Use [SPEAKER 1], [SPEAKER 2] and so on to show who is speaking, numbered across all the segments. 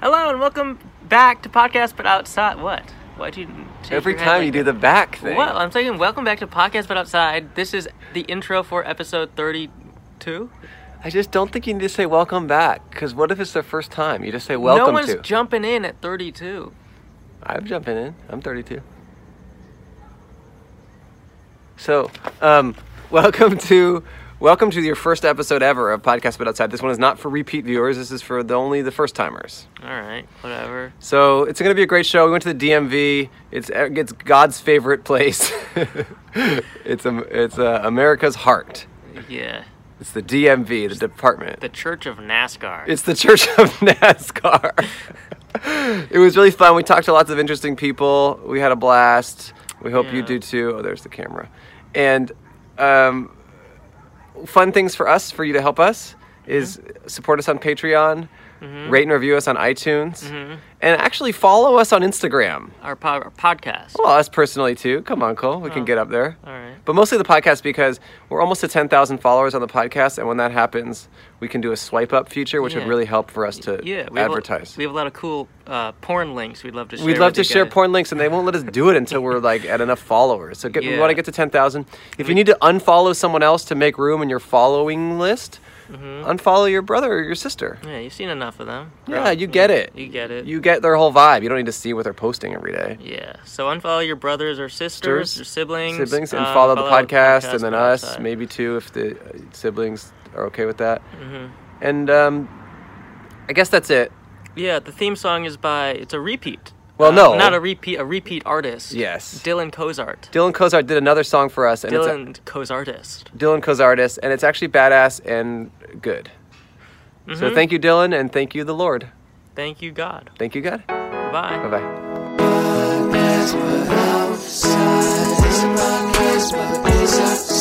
[SPEAKER 1] Hello and welcome back to podcast, but outside. What? Why'd you? shake
[SPEAKER 2] Every
[SPEAKER 1] your head
[SPEAKER 2] time
[SPEAKER 1] like
[SPEAKER 2] you
[SPEAKER 1] that?
[SPEAKER 2] do the back thing.
[SPEAKER 1] Well, I'm saying welcome back to podcast, but outside. This is the intro for episode 32.
[SPEAKER 2] I just don't think you need to say welcome back because what if it's their first time? You just say welcome
[SPEAKER 1] no one's
[SPEAKER 2] to.
[SPEAKER 1] jumping in at 32.
[SPEAKER 2] I'm jumping in. I'm 32. So, um, welcome to welcome to your first episode ever of podcast, but outside. This one is not for repeat viewers. This is for the only the first timers.
[SPEAKER 1] All right, whatever.
[SPEAKER 2] So it's gonna be a great show. We went to the DMV. It's it's God's favorite place. it's um it's uh, America's heart.
[SPEAKER 1] Yeah,
[SPEAKER 2] It's the DMV, the department.
[SPEAKER 1] the Church of NASCAR.
[SPEAKER 2] It's the Church of NASCAR. it was really fun. We talked to lots of interesting people. We had a blast. We hope you
[SPEAKER 1] Yeah.
[SPEAKER 2] do too. Oh, there's the camera. And um, fun things for us, for you to help us, is support us on Patreon, rate and review us on iTunes, and actually follow us on Instagram.
[SPEAKER 1] our, po- our podcast.
[SPEAKER 2] Well, us personally too. Come on, Cole. We can get up there.
[SPEAKER 1] Oh. All right.
[SPEAKER 2] But mostly the podcast because we're almost to 10,000 followers on the podcast. And when that happens, we can do a swipe up feature, which
[SPEAKER 1] Yeah.
[SPEAKER 2] would really help for us to
[SPEAKER 1] Yeah, we have a-
[SPEAKER 2] advertise.
[SPEAKER 1] we have a lot of cool uh, porn links. We'd love to. share
[SPEAKER 2] We'd love
[SPEAKER 1] with
[SPEAKER 2] to
[SPEAKER 1] you
[SPEAKER 2] share
[SPEAKER 1] guys.
[SPEAKER 2] porn links, and they won't let us do it until we're like at enough followers. So get, we
[SPEAKER 1] Yeah. Mm-hmm.
[SPEAKER 2] want to get to ten thousand. If
[SPEAKER 1] We-
[SPEAKER 2] you need to unfollow someone else to make room in your following list,
[SPEAKER 1] Mm-hmm.
[SPEAKER 2] unfollow your brother or your sister.
[SPEAKER 1] Yeah, you've seen enough of them.
[SPEAKER 2] Yeah, you get it.
[SPEAKER 1] You get it.
[SPEAKER 2] You get their whole vibe. You don't need to see what they're posting every day.
[SPEAKER 1] Yeah. So unfollow your brothers or sisters,
[SPEAKER 2] Sisters,
[SPEAKER 1] your siblings,
[SPEAKER 2] siblings and
[SPEAKER 1] um,
[SPEAKER 2] follow, the podcast, and then
[SPEAKER 1] but
[SPEAKER 2] us
[SPEAKER 1] outside.
[SPEAKER 2] maybe too if the uh, siblings are okay with that and um, i guess that's it
[SPEAKER 1] Yeah, the theme song is by it's a repeat.
[SPEAKER 2] Well, no.
[SPEAKER 1] not a repeat. A repeat artist.
[SPEAKER 2] Yes.
[SPEAKER 1] Dylan Cozart.
[SPEAKER 2] dylan kozart did another song for us and
[SPEAKER 1] Dylan Cozartist.
[SPEAKER 2] it's dylan kozartist and it's actually badass and good so thank you dylan and thank you the lord
[SPEAKER 1] Thank you, God.
[SPEAKER 2] thank you god
[SPEAKER 1] Bye.
[SPEAKER 2] bye-bye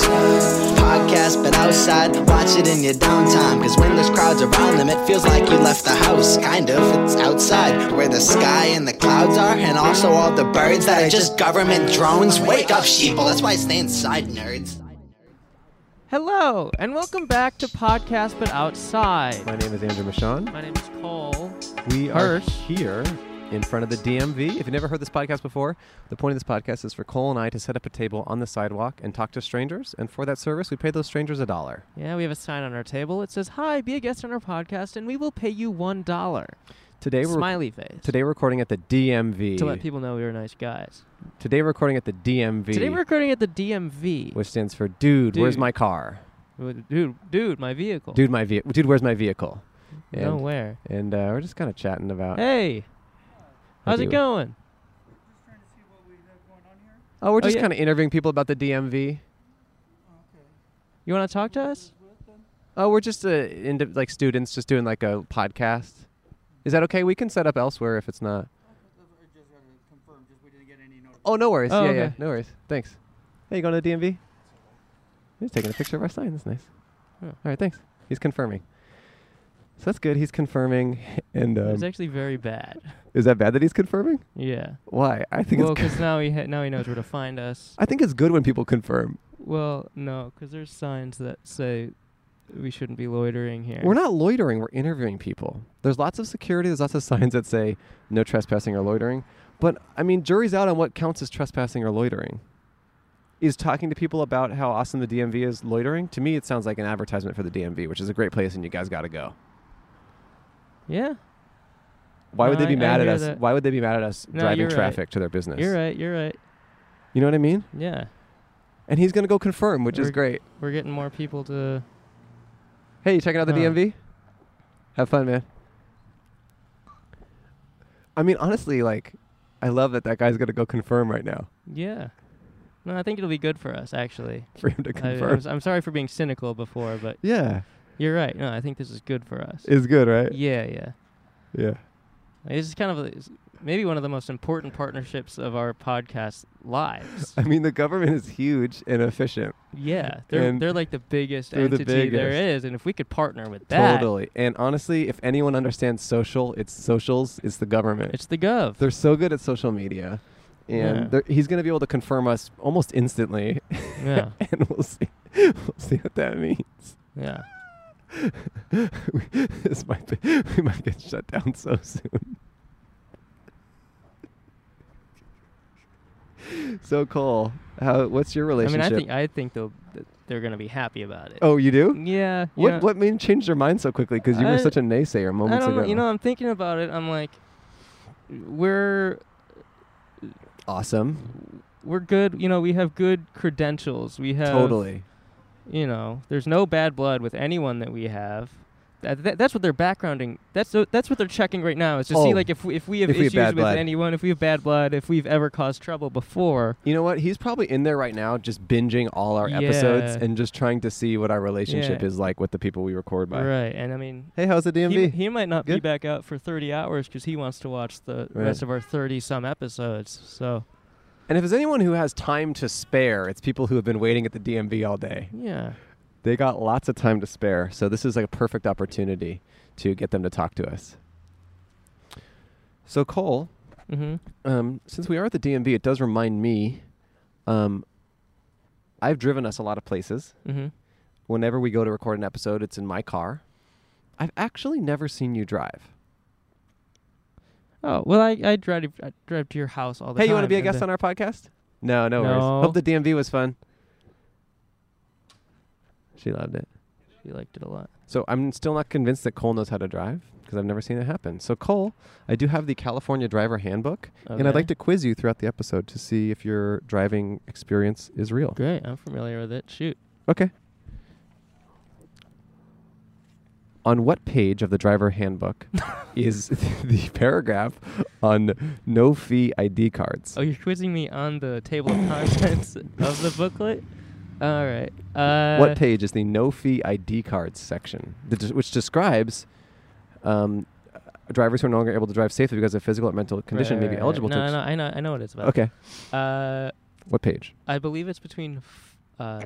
[SPEAKER 3] podcast, but outside. Watch it in your downtime. Cause when there's crowds around them, it feels like you left the house. Kind of, it's outside where the sky and the clouds are, and also all the birds that are just government drones. Wake up, sheeple. That's why I stay inside, nerds.
[SPEAKER 4] Hello, and welcome back to Podcast But Outside.
[SPEAKER 5] My name is Andrew Michon.
[SPEAKER 4] My name is Cole.
[SPEAKER 5] We are
[SPEAKER 4] Hirsch.
[SPEAKER 5] here in front of the DMV. If you've never heard this podcast before, the point of this podcast is for Cole and I to set up a table on the sidewalk and talk to strangers. And for that service, we pay those strangers a dollar.
[SPEAKER 4] Yeah, we have a sign on our table. It says, Hi, be a guest on our podcast, and we will pay you $1.
[SPEAKER 5] Today we're
[SPEAKER 4] Smiley face.
[SPEAKER 5] today we're recording at the DMV.
[SPEAKER 4] To let people know we were nice guys.
[SPEAKER 5] today we're recording at the DMV,
[SPEAKER 4] Today we're recording at the DMV.
[SPEAKER 5] which stands for Dude, Where's
[SPEAKER 4] Dude.
[SPEAKER 5] My Car?
[SPEAKER 4] With- Dude, dude, my vehicle.
[SPEAKER 5] Dude, my ve- Dude, Where's my vehicle? And,
[SPEAKER 4] no where.
[SPEAKER 5] and uh, we're just kind of chatting about.
[SPEAKER 4] Hey,
[SPEAKER 5] how
[SPEAKER 4] how's
[SPEAKER 5] do-
[SPEAKER 4] it going?
[SPEAKER 5] Oh, we're
[SPEAKER 4] Oh,
[SPEAKER 5] just
[SPEAKER 4] yeah.
[SPEAKER 5] kind of interviewing people about the DMV.
[SPEAKER 4] You want to talk to us?
[SPEAKER 5] Oh, we're just uh, indi- like students, just doing like a podcast. Is that okay? We can set up elsewhere if it's not. Oh, no worries.
[SPEAKER 4] Oh,
[SPEAKER 5] yeah,
[SPEAKER 4] okay.
[SPEAKER 5] yeah, no worries. Thanks. Hey, you going to the DMV? He's taking a picture of our sign. That's nice.
[SPEAKER 4] Yeah.
[SPEAKER 5] All right, thanks. He's confirming. So that's good. He's confirming, and
[SPEAKER 4] it
[SPEAKER 5] um,
[SPEAKER 4] was actually very bad.
[SPEAKER 5] is that bad that he's confirming?
[SPEAKER 4] Yeah.
[SPEAKER 5] Why? I think
[SPEAKER 4] Well,
[SPEAKER 5] it's.
[SPEAKER 4] because now he ha- now he knows where to find us.
[SPEAKER 5] I think it's good when people confirm.
[SPEAKER 4] Well, no, because there's signs that say we shouldn't be loitering here.
[SPEAKER 5] We're not loitering, we're interviewing people. There's lots of security, there's lots of signs that say no trespassing or loitering. But I mean, jury's out on what counts as trespassing or loitering. Is talking to people about how awesome the DMV is loitering? To me, it sounds like an advertisement for the DMV, which is a great place and you guys got to go.
[SPEAKER 4] Yeah.
[SPEAKER 5] Why would
[SPEAKER 4] No,
[SPEAKER 5] they be
[SPEAKER 4] I- I
[SPEAKER 5] mad at
[SPEAKER 4] hear
[SPEAKER 5] us?
[SPEAKER 4] that.
[SPEAKER 5] Why would they be mad at us
[SPEAKER 4] No,
[SPEAKER 5] driving
[SPEAKER 4] you're right.
[SPEAKER 5] traffic to their business?
[SPEAKER 4] You're right. You're right.
[SPEAKER 5] You know what I mean?
[SPEAKER 4] Yeah.
[SPEAKER 5] And he's going to go confirm, which is
[SPEAKER 4] We're-
[SPEAKER 5] great.
[SPEAKER 4] We're getting more people to.
[SPEAKER 5] Hey, you checking out the
[SPEAKER 4] Huh.
[SPEAKER 5] DMV? Have fun, man. I mean, honestly, like, I love that that guy's gonna go confirm right now
[SPEAKER 4] Yeah. No, I think it'll be good for us, actually.
[SPEAKER 5] for him to
[SPEAKER 4] I,
[SPEAKER 5] confirm.
[SPEAKER 4] am sorry for being cynical before, but
[SPEAKER 5] yeah,
[SPEAKER 4] you're right. No, I think this is good for us.
[SPEAKER 5] it's good, right?
[SPEAKER 4] yeah, yeah.
[SPEAKER 5] Yeah,
[SPEAKER 4] Like, This is kind of a, it's maybe one of the most important partnerships of our podcast lives.
[SPEAKER 5] I mean, the government is huge and efficient,
[SPEAKER 4] yeah, they're
[SPEAKER 5] And
[SPEAKER 4] they're like the biggest
[SPEAKER 5] they're the
[SPEAKER 4] entity there is, and if we could partner with that,
[SPEAKER 5] totally. And honestly, if anyone understands social, it's socials, it's the government.
[SPEAKER 4] it's the gov.
[SPEAKER 5] They're so good at social media,
[SPEAKER 4] Yeah.
[SPEAKER 5] and they're he's gonna be able to confirm us almost instantly,
[SPEAKER 4] yeah,
[SPEAKER 5] and we'll see, we'll see what that means.
[SPEAKER 4] yeah.
[SPEAKER 5] we, this might be, we might get shut down so soon. so Cole, how, what's your
[SPEAKER 4] I mean,
[SPEAKER 5] relationship?
[SPEAKER 4] I think I think they'll that they're gonna be happy about it.
[SPEAKER 5] oh, you do?
[SPEAKER 4] yeah. you
[SPEAKER 5] What
[SPEAKER 4] know-
[SPEAKER 5] what made you change your mind so quickly? Because you were
[SPEAKER 4] I-
[SPEAKER 5] such a naysayer
[SPEAKER 4] I
[SPEAKER 5] moments
[SPEAKER 4] don't know.
[SPEAKER 5] ago.
[SPEAKER 4] You know, I'm thinking about it. I'm like, we're
[SPEAKER 5] awesome.
[SPEAKER 4] we're good. You know, we have good credentials. We have
[SPEAKER 5] Totally.
[SPEAKER 4] You know, there's no bad blood with anyone that we have. That, that, that's what they're backgrounding. That's the- that's what they're checking right now is to
[SPEAKER 5] Oh.
[SPEAKER 4] see like if we, if we have
[SPEAKER 5] If we have
[SPEAKER 4] issues
[SPEAKER 5] bad
[SPEAKER 4] with
[SPEAKER 5] blood.
[SPEAKER 4] anyone, if we have bad blood, if we've ever caused trouble before.
[SPEAKER 5] You know what? He's probably in there right now, just binging all our episodes
[SPEAKER 4] Yeah.
[SPEAKER 5] and just trying to see what our relationship
[SPEAKER 4] Yeah.
[SPEAKER 5] is like with the people we record by.
[SPEAKER 4] Right, and I mean,
[SPEAKER 5] Hey, how's the
[SPEAKER 4] he,
[SPEAKER 5] DMV?
[SPEAKER 4] he might not be
[SPEAKER 5] Good?
[SPEAKER 4] back out for 30 hours because he wants to watch the
[SPEAKER 5] Right.
[SPEAKER 4] rest of our 30 some episodes. So
[SPEAKER 5] and if there's anyone who has time to spare, it's people who have been waiting at the DMV all day.
[SPEAKER 4] yeah,
[SPEAKER 5] They got lots of time to spare, so this is like a perfect opportunity to get them to talk to us. So Cole,
[SPEAKER 4] mm-hmm.
[SPEAKER 5] um, since we are at the DMV, it does remind me. Um, I've driven us a lot of places.
[SPEAKER 4] Mm-hmm.
[SPEAKER 5] Whenever we go to record an episode, it's in my car. I've actually never seen you drive.
[SPEAKER 4] Oh well, I I drive I drive to your house all the
[SPEAKER 5] hey,
[SPEAKER 4] time.
[SPEAKER 5] you want to be a
[SPEAKER 4] and
[SPEAKER 5] guest
[SPEAKER 4] then-
[SPEAKER 5] on our podcast? No, no, worries.
[SPEAKER 4] No.
[SPEAKER 5] Hope the DMV was fun. She loved it.
[SPEAKER 4] You liked it a lot.
[SPEAKER 5] So I'm still not convinced that Cole knows how to drive because I've never seen it happen. So Cole, I do have the California Driver Handbook, and I'd
[SPEAKER 4] Okay.
[SPEAKER 5] like to quiz you throughout the episode to see if your driving experience is real.
[SPEAKER 4] Great, I'm familiar with it. Shoot.
[SPEAKER 5] Okay. On what page of the driver handbook is the paragraph on no fee ID cards?
[SPEAKER 4] Oh, you're quizzing me on the table of contents of the booklet. All right. Uh,
[SPEAKER 5] what page is the no fee ID cards section, that des- which describes um, uh, drivers who are no longer able to drive safely because of physical or mental condition may be eligible
[SPEAKER 4] no,
[SPEAKER 5] to.
[SPEAKER 4] No,
[SPEAKER 5] ex-
[SPEAKER 4] no, I know, I know what it's about.
[SPEAKER 5] Okay.
[SPEAKER 4] Uh,
[SPEAKER 5] What page?
[SPEAKER 4] I believe it's between f- uh,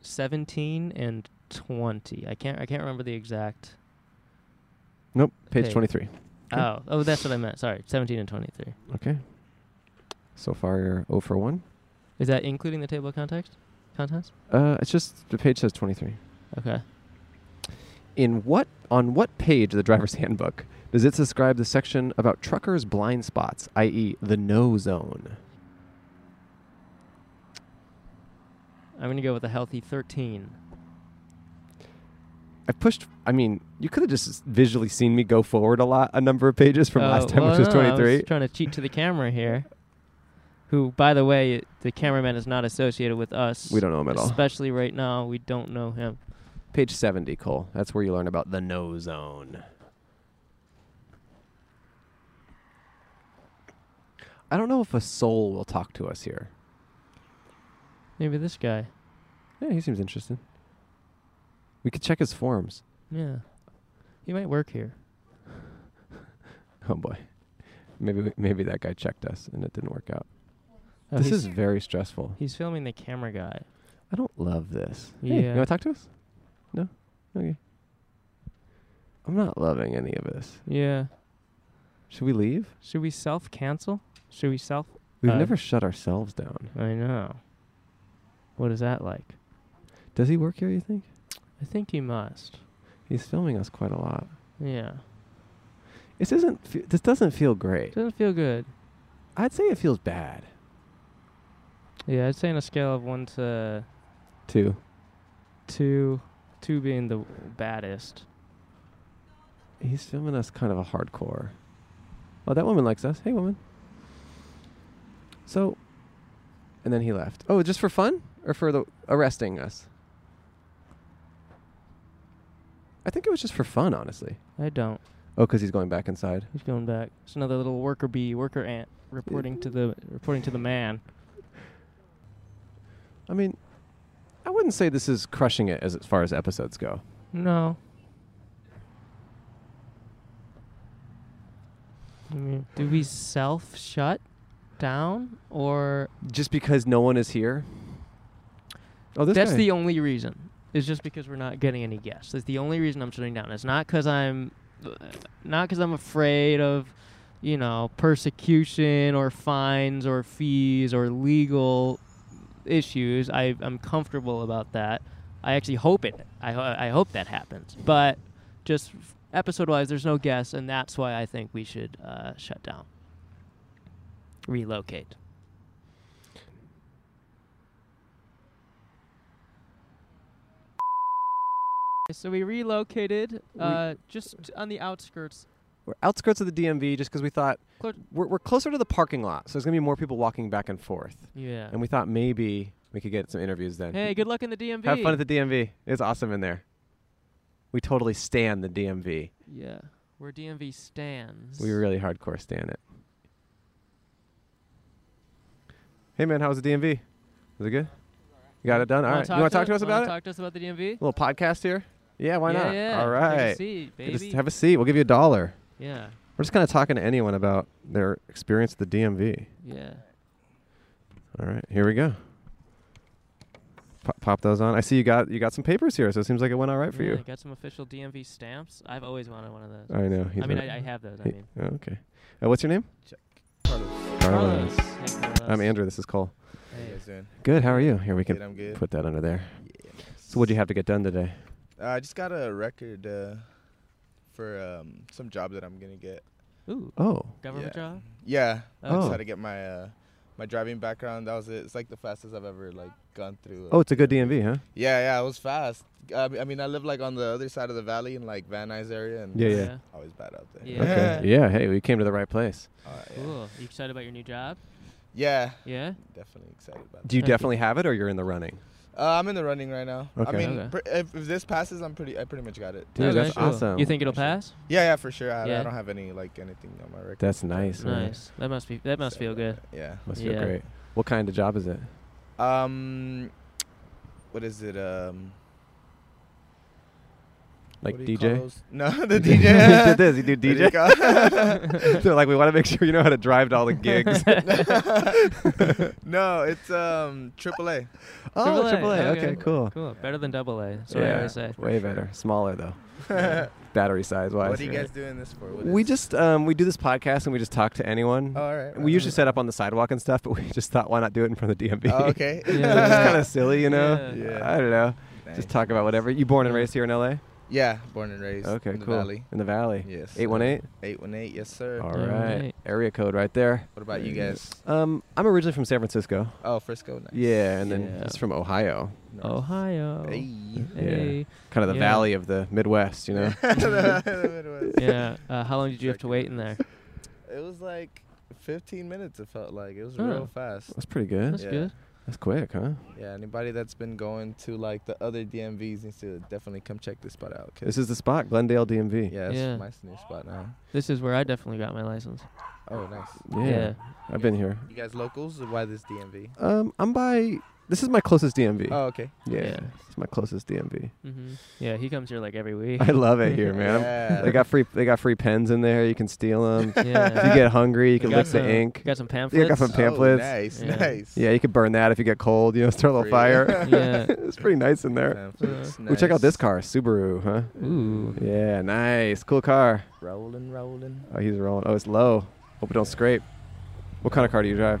[SPEAKER 4] 17 and 20. I can't I can't remember the exact.
[SPEAKER 5] Nope. Page
[SPEAKER 4] Page.
[SPEAKER 5] 23. Okay.
[SPEAKER 4] Oh, oh, that's what I meant. Sorry, 17 and 23.
[SPEAKER 5] Okay. So far, you're 0 for 1.
[SPEAKER 4] Is that including the table of context? Contents?
[SPEAKER 5] Uh, it's just the page says 23.
[SPEAKER 4] Okay.
[SPEAKER 5] in what on what page of the driver's handbook does it describe the section about truckers' blind spots, i.e., the no zone?
[SPEAKER 4] I'm going to go with a healthy 13.
[SPEAKER 5] I pushed. I mean, you could have just visually seen me go forward a lot, a number of pages from
[SPEAKER 4] Oh,
[SPEAKER 5] last time,
[SPEAKER 4] well,
[SPEAKER 5] which was
[SPEAKER 4] no, I
[SPEAKER 5] twenty-three.
[SPEAKER 4] trying to cheat to the camera here. Who, by the way, the cameraman is not associated with us.
[SPEAKER 5] We don't know him at all.
[SPEAKER 4] Especially right now, we don't know him.
[SPEAKER 5] Page seventy, Cole. That's where you learn about the no zone. I don't know if a soul will talk to us here.
[SPEAKER 4] Maybe this guy.
[SPEAKER 5] Yeah, he seems interested. We could check his forms.
[SPEAKER 4] Yeah. He might work here.
[SPEAKER 5] Oh boy, maybe we- maybe that guy checked us and it didn't work out.
[SPEAKER 4] Oh,
[SPEAKER 5] this
[SPEAKER 4] he's-
[SPEAKER 5] is very stressful.
[SPEAKER 4] He's filming the camera guy.
[SPEAKER 5] I don't love this. Hey, you
[SPEAKER 4] Yeah.
[SPEAKER 5] want to talk to us? No. Okay. I'm not loving any of this.
[SPEAKER 4] Yeah.
[SPEAKER 5] Should we leave?
[SPEAKER 4] Should we self cancel? Should we self?
[SPEAKER 5] We've
[SPEAKER 4] Uh,
[SPEAKER 5] never shut ourselves down.
[SPEAKER 4] I know. What is that like?
[SPEAKER 5] Does he work here? You think?
[SPEAKER 4] I think he must.
[SPEAKER 5] He's filming us quite a lot.
[SPEAKER 4] Yeah.
[SPEAKER 5] This isn't. Fe- this doesn't feel great.
[SPEAKER 4] Doesn't feel good.
[SPEAKER 5] I'd say it feels bad.
[SPEAKER 4] Yeah, I'd say on a scale of one to
[SPEAKER 5] Too.
[SPEAKER 4] two, two being the baddest.
[SPEAKER 5] He's filming us kind of a hardcore. Oh, that woman likes us. Hey, woman. So, and then he left. Oh, just for fun or for the arresting us? I think it was just for fun, honestly.
[SPEAKER 4] I don't.
[SPEAKER 5] Oh, because he's going back inside.
[SPEAKER 4] He's going back. It's another little worker bee, worker ant, reporting to the reporting to the man.
[SPEAKER 5] I mean, I wouldn't say this is crushing it as, as far as episodes go.
[SPEAKER 4] No. I mean, do we self shut down or
[SPEAKER 5] Just because no one is here. Oh, this
[SPEAKER 4] that's
[SPEAKER 5] guy.
[SPEAKER 4] the only reason is just because we're not getting any guests that's the only reason i'm shutting down it's not because i'm uh, not because i'm afraid of you know persecution or fines or fees or legal issues I, i'm comfortable about that i actually hope it i, ho- I hope that happens but just episode wise there's no guests and that's why i think we should uh, shut down relocate So we relocated
[SPEAKER 5] We-
[SPEAKER 4] uh, just on the outskirts.
[SPEAKER 5] We're outskirts of the DMV just because we thought
[SPEAKER 4] Clo-
[SPEAKER 5] we're, we're closer to the parking lot, so there's gonna be more people walking back and forth.
[SPEAKER 4] Yeah.
[SPEAKER 5] And we thought maybe we could get some interviews then.
[SPEAKER 4] Hey, good luck in the DMV.
[SPEAKER 5] Have fun at the DMV. It's awesome in there. We totally stand the DMV.
[SPEAKER 4] yeah, where DMV stands.
[SPEAKER 5] We really hardcore stand it. Hey man, how was the DMV? Was it good? You got it done? All
[SPEAKER 4] Wanna
[SPEAKER 5] right. You want to talk to us
[SPEAKER 4] wanna
[SPEAKER 5] about it?
[SPEAKER 4] Talk to us about the DMV.
[SPEAKER 5] little podcast here? Yeah, why
[SPEAKER 4] yeah,
[SPEAKER 5] not?
[SPEAKER 4] Yeah.
[SPEAKER 5] All
[SPEAKER 4] Take
[SPEAKER 5] right.
[SPEAKER 4] a seat,
[SPEAKER 5] You Just
[SPEAKER 4] baby.
[SPEAKER 5] have a seat. We'll give you a dollar.
[SPEAKER 4] yeah.
[SPEAKER 5] We're just kind of talking to anyone about their experience at the DMV.
[SPEAKER 4] Yeah.
[SPEAKER 5] All right, here we go. Pop, pop those on. I see you got you got some papers here, so it seems like it went all right for
[SPEAKER 4] yeah,
[SPEAKER 5] you.
[SPEAKER 4] Got some official DMV stamps. I've always wanted one of those.
[SPEAKER 5] I know. he's
[SPEAKER 4] I mean,
[SPEAKER 5] been-
[SPEAKER 4] I, I have those. I
[SPEAKER 5] he-
[SPEAKER 4] mean,
[SPEAKER 5] oh, okay. Uh, what's your name? Carlos.
[SPEAKER 4] Carlos. Hey, Carlos.
[SPEAKER 5] I'm Andrew. This is Cole.
[SPEAKER 6] How you
[SPEAKER 4] Hey.
[SPEAKER 6] guys doing?
[SPEAKER 5] Good. How are you? Here we
[SPEAKER 6] Good,
[SPEAKER 5] can
[SPEAKER 6] I'm good.
[SPEAKER 5] put that under there.
[SPEAKER 6] Yeah.
[SPEAKER 5] So what'd you have to get done today?
[SPEAKER 6] Uh, I just got a record uh, for um, some job that I'm gonna get.
[SPEAKER 4] Ooh,
[SPEAKER 5] Oh,
[SPEAKER 4] government
[SPEAKER 6] yeah.
[SPEAKER 4] job.
[SPEAKER 6] Yeah. I
[SPEAKER 5] Oh.
[SPEAKER 6] just had to get my uh, my driving background. That was it. It's like the fastest I've ever like gone through. uh,
[SPEAKER 5] oh, it's a good DMV, huh?
[SPEAKER 6] Yeah, yeah. It was fast. I mean- I mean, I live like on the other side of the valley in like Van Nuys area, and
[SPEAKER 5] Yeah,
[SPEAKER 6] it's
[SPEAKER 5] yeah.
[SPEAKER 6] always bad out there.
[SPEAKER 4] Yeah.
[SPEAKER 5] Okay. Yeah. Hey, we came to the right place.
[SPEAKER 6] Alright, yeah.
[SPEAKER 4] Cool. You excited about your new job?
[SPEAKER 6] Yeah,
[SPEAKER 4] Yeah.
[SPEAKER 6] Definitely excited about.
[SPEAKER 5] Do you
[SPEAKER 4] Thank you.
[SPEAKER 5] definitely have it, or you're in the running?
[SPEAKER 6] That. Uh, I'm in the running right now.
[SPEAKER 5] Okay.
[SPEAKER 6] I mean,
[SPEAKER 4] Okay.
[SPEAKER 6] pr- if, if this passes, I'm pretty. I pretty much got it.
[SPEAKER 5] Dude,
[SPEAKER 4] Okay,
[SPEAKER 5] that's
[SPEAKER 4] cool.
[SPEAKER 5] awesome.
[SPEAKER 4] You think it'll
[SPEAKER 6] Sure.
[SPEAKER 4] pass?
[SPEAKER 6] Yeah, yeah, for sure. I,
[SPEAKER 4] Yeah.
[SPEAKER 6] I don't have any like anything on my record.
[SPEAKER 5] That's nice. man.
[SPEAKER 4] Nice. That must be. That must
[SPEAKER 6] So,
[SPEAKER 4] feel good.
[SPEAKER 6] Yeah.
[SPEAKER 5] Must feel
[SPEAKER 4] Yeah.
[SPEAKER 5] great. What kind of job is it?
[SPEAKER 6] Um, what is it? Um,
[SPEAKER 5] Like
[SPEAKER 6] what do you
[SPEAKER 5] DJ?
[SPEAKER 6] call those? No, the
[SPEAKER 5] You did
[SPEAKER 6] DJ.
[SPEAKER 5] this. You did
[SPEAKER 6] What do you
[SPEAKER 5] DJ.
[SPEAKER 6] call-
[SPEAKER 5] They're like, we want to make sure you know how to drive to all the gigs.
[SPEAKER 6] no, it's um
[SPEAKER 5] oh,
[SPEAKER 6] AAA.
[SPEAKER 4] Triple A,
[SPEAKER 5] AAA. Okay, cool.
[SPEAKER 4] Cool. Better than double A. That's what I
[SPEAKER 5] Yeah,
[SPEAKER 4] always say.
[SPEAKER 5] way better. Smaller though, battery size wise.
[SPEAKER 6] what are you guys doing this for? What
[SPEAKER 5] We
[SPEAKER 6] is it?
[SPEAKER 5] just um, we do this podcast and we just talk to anyone.
[SPEAKER 6] Oh, all right.
[SPEAKER 5] we usually set up on the sidewalk and stuff, but we just thought, why not do it in front of the DMV?
[SPEAKER 6] Oh, okay.
[SPEAKER 4] Yeah.
[SPEAKER 5] it's kind of silly, you know.
[SPEAKER 6] Yeah. Yeah.
[SPEAKER 5] I don't know.
[SPEAKER 6] Nice.
[SPEAKER 5] Just talk about whatever. You born and raised here in LA?
[SPEAKER 6] Yeah, born and raised.
[SPEAKER 5] Okay,
[SPEAKER 6] in the
[SPEAKER 5] cool.
[SPEAKER 6] Valley.
[SPEAKER 5] In the valley.
[SPEAKER 6] Yes.
[SPEAKER 5] Eight one eight.
[SPEAKER 6] Eight one eight. Yes, sir.
[SPEAKER 5] All right.
[SPEAKER 4] 818.
[SPEAKER 5] Area code right there.
[SPEAKER 6] What about you guys?
[SPEAKER 5] Um, I'm originally from San Francisco.
[SPEAKER 6] Oh, Frisco. Nice.
[SPEAKER 5] Yeah, and then
[SPEAKER 4] Yeah.
[SPEAKER 5] it's from Ohio.
[SPEAKER 6] Nice.
[SPEAKER 4] Oh, Ohio.
[SPEAKER 6] Hey.
[SPEAKER 4] Hey.
[SPEAKER 5] kind of the
[SPEAKER 4] Yeah.
[SPEAKER 5] valley of the Midwest, you know.
[SPEAKER 6] It was-
[SPEAKER 4] Yeah. Uh, how long did you have to wait in there?
[SPEAKER 6] It was like 15 minutes. It felt like it was
[SPEAKER 4] Oh.
[SPEAKER 6] real fast.
[SPEAKER 5] That's pretty good.
[SPEAKER 4] That's
[SPEAKER 6] Yeah.
[SPEAKER 4] good.
[SPEAKER 5] That's quick, huh?
[SPEAKER 6] Yeah, anybody that's been going to like the other DMVs needs to definitely come check this spot out. 'cause-
[SPEAKER 5] This is the spot, Glendale DMV.
[SPEAKER 6] yeah, it's
[SPEAKER 4] Yeah.
[SPEAKER 6] my new spot now.
[SPEAKER 4] This is where I definitely got my license.
[SPEAKER 6] Oh, nice.
[SPEAKER 5] Yeah. I've been here.
[SPEAKER 6] You guys locals? or Why this DMV?
[SPEAKER 5] Um, I'm by. This is my closest DMV.
[SPEAKER 6] Oh, okay.
[SPEAKER 5] yeah,
[SPEAKER 4] yeah.
[SPEAKER 5] it's my closest DMV.
[SPEAKER 4] hmm Yeah. He comes here like every week.
[SPEAKER 5] I love it here, man. I'm-
[SPEAKER 6] Yeah.
[SPEAKER 5] They got free. They got free pens in there. You can steal them. if you
[SPEAKER 4] yeah.
[SPEAKER 5] get hungry, you can
[SPEAKER 4] got
[SPEAKER 5] lick the
[SPEAKER 4] some-
[SPEAKER 5] ink.
[SPEAKER 4] Got some
[SPEAKER 5] Yeah,
[SPEAKER 4] pamphlets.
[SPEAKER 5] got some pamphlets.
[SPEAKER 6] Oh, nice,
[SPEAKER 4] Yeah.
[SPEAKER 6] nice.
[SPEAKER 5] Yeah, you could burn that if you get cold. You know, start a little
[SPEAKER 6] Free.
[SPEAKER 5] fire.
[SPEAKER 4] Yeah.
[SPEAKER 5] it's pretty nice in there.
[SPEAKER 6] Pamphlets,
[SPEAKER 5] We check out this
[SPEAKER 6] nice.
[SPEAKER 5] car, Subaru, huh?
[SPEAKER 4] Ooh.
[SPEAKER 5] Yeah, nice, cool car.
[SPEAKER 6] Rolling, rolling.
[SPEAKER 5] Oh, he's rolling. Oh, it's low. Hope it don't scrape. What kind of car do you drive?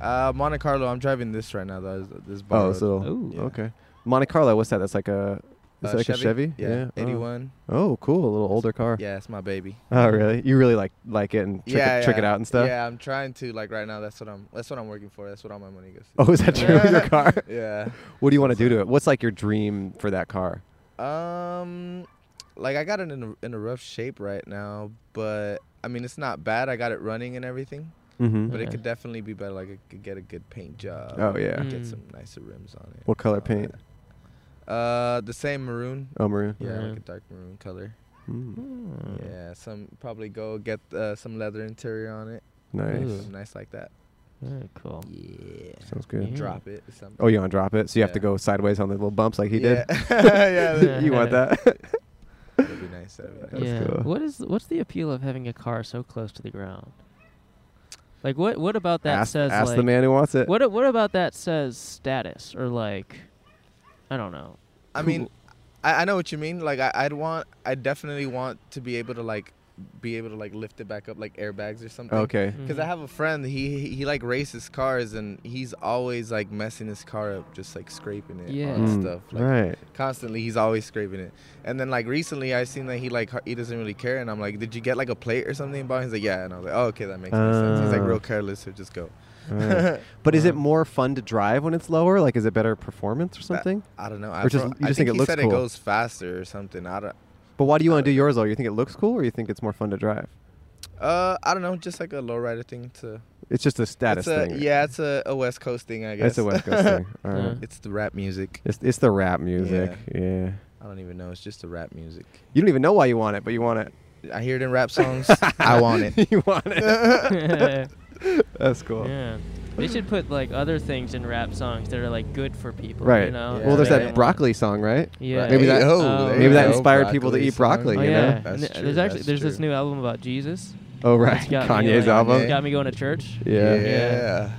[SPEAKER 6] Uh, Monte Carlo. I'm driving this right now. Though this- Uh, this
[SPEAKER 5] Oh,
[SPEAKER 6] borrowed.
[SPEAKER 5] it's little.
[SPEAKER 4] Ooh.
[SPEAKER 6] Yeah.
[SPEAKER 5] Okay. Monte Carlo, what's that? That's like a. Is that
[SPEAKER 6] Uh,
[SPEAKER 5] like a Chevy?
[SPEAKER 6] Yeah.
[SPEAKER 5] oh.
[SPEAKER 6] 81.
[SPEAKER 5] Oh. cool. A little older car.
[SPEAKER 6] Yeah, it's my baby.
[SPEAKER 5] Oh, really? You really like like it and trick,
[SPEAKER 6] yeah,
[SPEAKER 5] it, trick it
[SPEAKER 6] yeah.
[SPEAKER 5] out and stuff?
[SPEAKER 6] Yeah, I'm trying to like right now. That's what I'm. That's what I'm working for. That's what all my money goes. To.
[SPEAKER 5] Oh, is that true with your car?
[SPEAKER 6] Yeah.
[SPEAKER 5] What do you want to do to it? What's like your dream for that car?
[SPEAKER 6] Um, like I got it in a, in a rough shape right now, but I mean it's not bad. I got it running and everything,
[SPEAKER 5] Mm-hmm.
[SPEAKER 6] but
[SPEAKER 4] Okay.
[SPEAKER 6] it could definitely be better. Like I could get a good paint job.
[SPEAKER 5] Oh, yeah.
[SPEAKER 4] Mm.
[SPEAKER 6] Get some nicer rims on it.
[SPEAKER 5] What color
[SPEAKER 6] Oh,
[SPEAKER 5] paint?
[SPEAKER 6] Uh, the same maroon.
[SPEAKER 5] Oh, maroon.
[SPEAKER 6] Yeah,
[SPEAKER 4] Maroon. Hmm.
[SPEAKER 6] like a dark maroon color.
[SPEAKER 5] Mm.
[SPEAKER 6] Yeah, some probably go get uh, some leather interior on it.
[SPEAKER 5] Nice.
[SPEAKER 4] Ooh.
[SPEAKER 6] Something nice like that.
[SPEAKER 4] Very cool.
[SPEAKER 6] Yeah.
[SPEAKER 5] Sounds good.
[SPEAKER 4] Yeah.
[SPEAKER 6] Drop it. or Something.
[SPEAKER 5] Oh, you want to drop it? So you have to
[SPEAKER 6] Yeah.
[SPEAKER 5] go sideways on the little bumps like he
[SPEAKER 6] yeah.
[SPEAKER 5] did?
[SPEAKER 6] yeah.
[SPEAKER 5] you want that?
[SPEAKER 6] That'd be nice. That'd be nice.
[SPEAKER 5] That's
[SPEAKER 4] yeah.
[SPEAKER 5] cool.
[SPEAKER 4] What is what's the appeal of having a car so close to the ground? Like what what about that
[SPEAKER 5] ask
[SPEAKER 4] says
[SPEAKER 5] ask
[SPEAKER 4] like
[SPEAKER 5] the man who wants it.
[SPEAKER 4] what a- what about that says status or like I don't know.
[SPEAKER 6] I mean, I, I know what you mean. Like, I, I'd want, I definitely want to be able to like
[SPEAKER 7] be able to like lift it back up like airbags or something.
[SPEAKER 5] Okay.
[SPEAKER 6] Mm,
[SPEAKER 7] Because I have a friend, he he- he like races cars and he's always like messing his car up, just like scraping it
[SPEAKER 4] Yeah.
[SPEAKER 7] and
[SPEAKER 5] Mm,
[SPEAKER 7] stuff. Like,
[SPEAKER 5] right.
[SPEAKER 7] Constantly, he's always scraping it. And then like recently, I seen that he like har- he doesn't really care, and I'm like, did you get like a plate or something? About it?" he's like, yeah, and I was like, oh okay, that makes more sense. He's
[SPEAKER 5] Oh.
[SPEAKER 7] like real careless, so just go.
[SPEAKER 5] Right. But is it more fun to drive when it's lower? Like, is it better performance or something?
[SPEAKER 7] I don't know. I,
[SPEAKER 5] Or just-
[SPEAKER 7] pro-
[SPEAKER 5] you
[SPEAKER 7] I
[SPEAKER 5] just think it
[SPEAKER 7] he
[SPEAKER 5] looks
[SPEAKER 7] said
[SPEAKER 5] cool.
[SPEAKER 7] it goes faster or something. I don't.
[SPEAKER 5] But why do you want to do yours lower? You think it looks cool, or you think it's more fun to drive?
[SPEAKER 7] Uh, I don't know. Just like a lowrider thing to.
[SPEAKER 5] It's just a status
[SPEAKER 7] it's a,
[SPEAKER 5] thing.
[SPEAKER 7] Yeah, it's a, a West Coast thing, I guess.
[SPEAKER 5] it's a West Coast thing. All right.
[SPEAKER 4] Yeah.
[SPEAKER 7] it's the rap music.
[SPEAKER 5] It's it's the rap music. Yeah.
[SPEAKER 7] I don't even know. It's just the rap music.
[SPEAKER 5] You don't even know why you want it, but you want it.
[SPEAKER 7] I hear it in rap songs. I want it.
[SPEAKER 5] you want it.
[SPEAKER 4] yeah.
[SPEAKER 5] That's cool.
[SPEAKER 4] They should put like other things in rap songs that are like good for people.
[SPEAKER 5] Right.
[SPEAKER 4] You know?
[SPEAKER 5] Well, there's
[SPEAKER 4] Like,
[SPEAKER 5] that broccoli song, right?
[SPEAKER 4] Yeah.
[SPEAKER 5] Maybe that-
[SPEAKER 4] Oh.
[SPEAKER 7] there
[SPEAKER 4] maybe
[SPEAKER 7] you
[SPEAKER 4] that
[SPEAKER 7] go,
[SPEAKER 5] inspired people to eat broccoli,
[SPEAKER 4] Oh,
[SPEAKER 5] you know?
[SPEAKER 4] yeah. And
[SPEAKER 7] That's
[SPEAKER 4] th-
[SPEAKER 7] true,
[SPEAKER 4] there's actually
[SPEAKER 7] that's
[SPEAKER 4] there's this
[SPEAKER 7] true.
[SPEAKER 4] new album about Jesus.
[SPEAKER 5] Oh right.
[SPEAKER 4] It's got me,
[SPEAKER 5] Kanye's
[SPEAKER 4] like-
[SPEAKER 5] album.
[SPEAKER 4] It's got me going to church.
[SPEAKER 5] Yeah.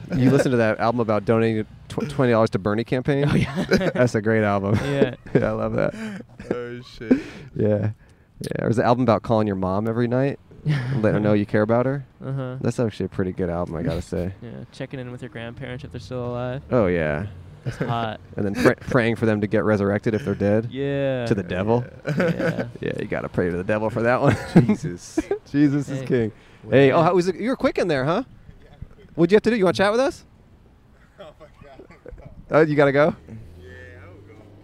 [SPEAKER 7] Yeah.
[SPEAKER 5] you listen to that album about donating tw- twenty dollars to Bernie campaign.
[SPEAKER 4] Oh, yeah.
[SPEAKER 5] That's a great album.
[SPEAKER 4] Yeah.
[SPEAKER 5] yeah, I love that.
[SPEAKER 7] oh shit.
[SPEAKER 5] Yeah. Yeah. There's an album about calling your mom every night, let her know you care about her.
[SPEAKER 4] Uh huh.
[SPEAKER 5] That's actually a pretty good album, I gotta say.
[SPEAKER 4] Yeah. Checking in with your grandparents if they're still alive.
[SPEAKER 5] Oh yeah.
[SPEAKER 4] That's hot.
[SPEAKER 5] And then pr- praying for them to get resurrected if they're dead.
[SPEAKER 4] Yeah.
[SPEAKER 5] To the devil.
[SPEAKER 4] Yeah.
[SPEAKER 5] Yeah, you gotta pray to the devil for that one.
[SPEAKER 7] Jesus.
[SPEAKER 5] Jesus
[SPEAKER 4] Hey.
[SPEAKER 5] is king. Hey, oh, how was it? You were quick in there, huh? What'd you have to do? You want to chat with us? Oh, you gotta go. Yeah,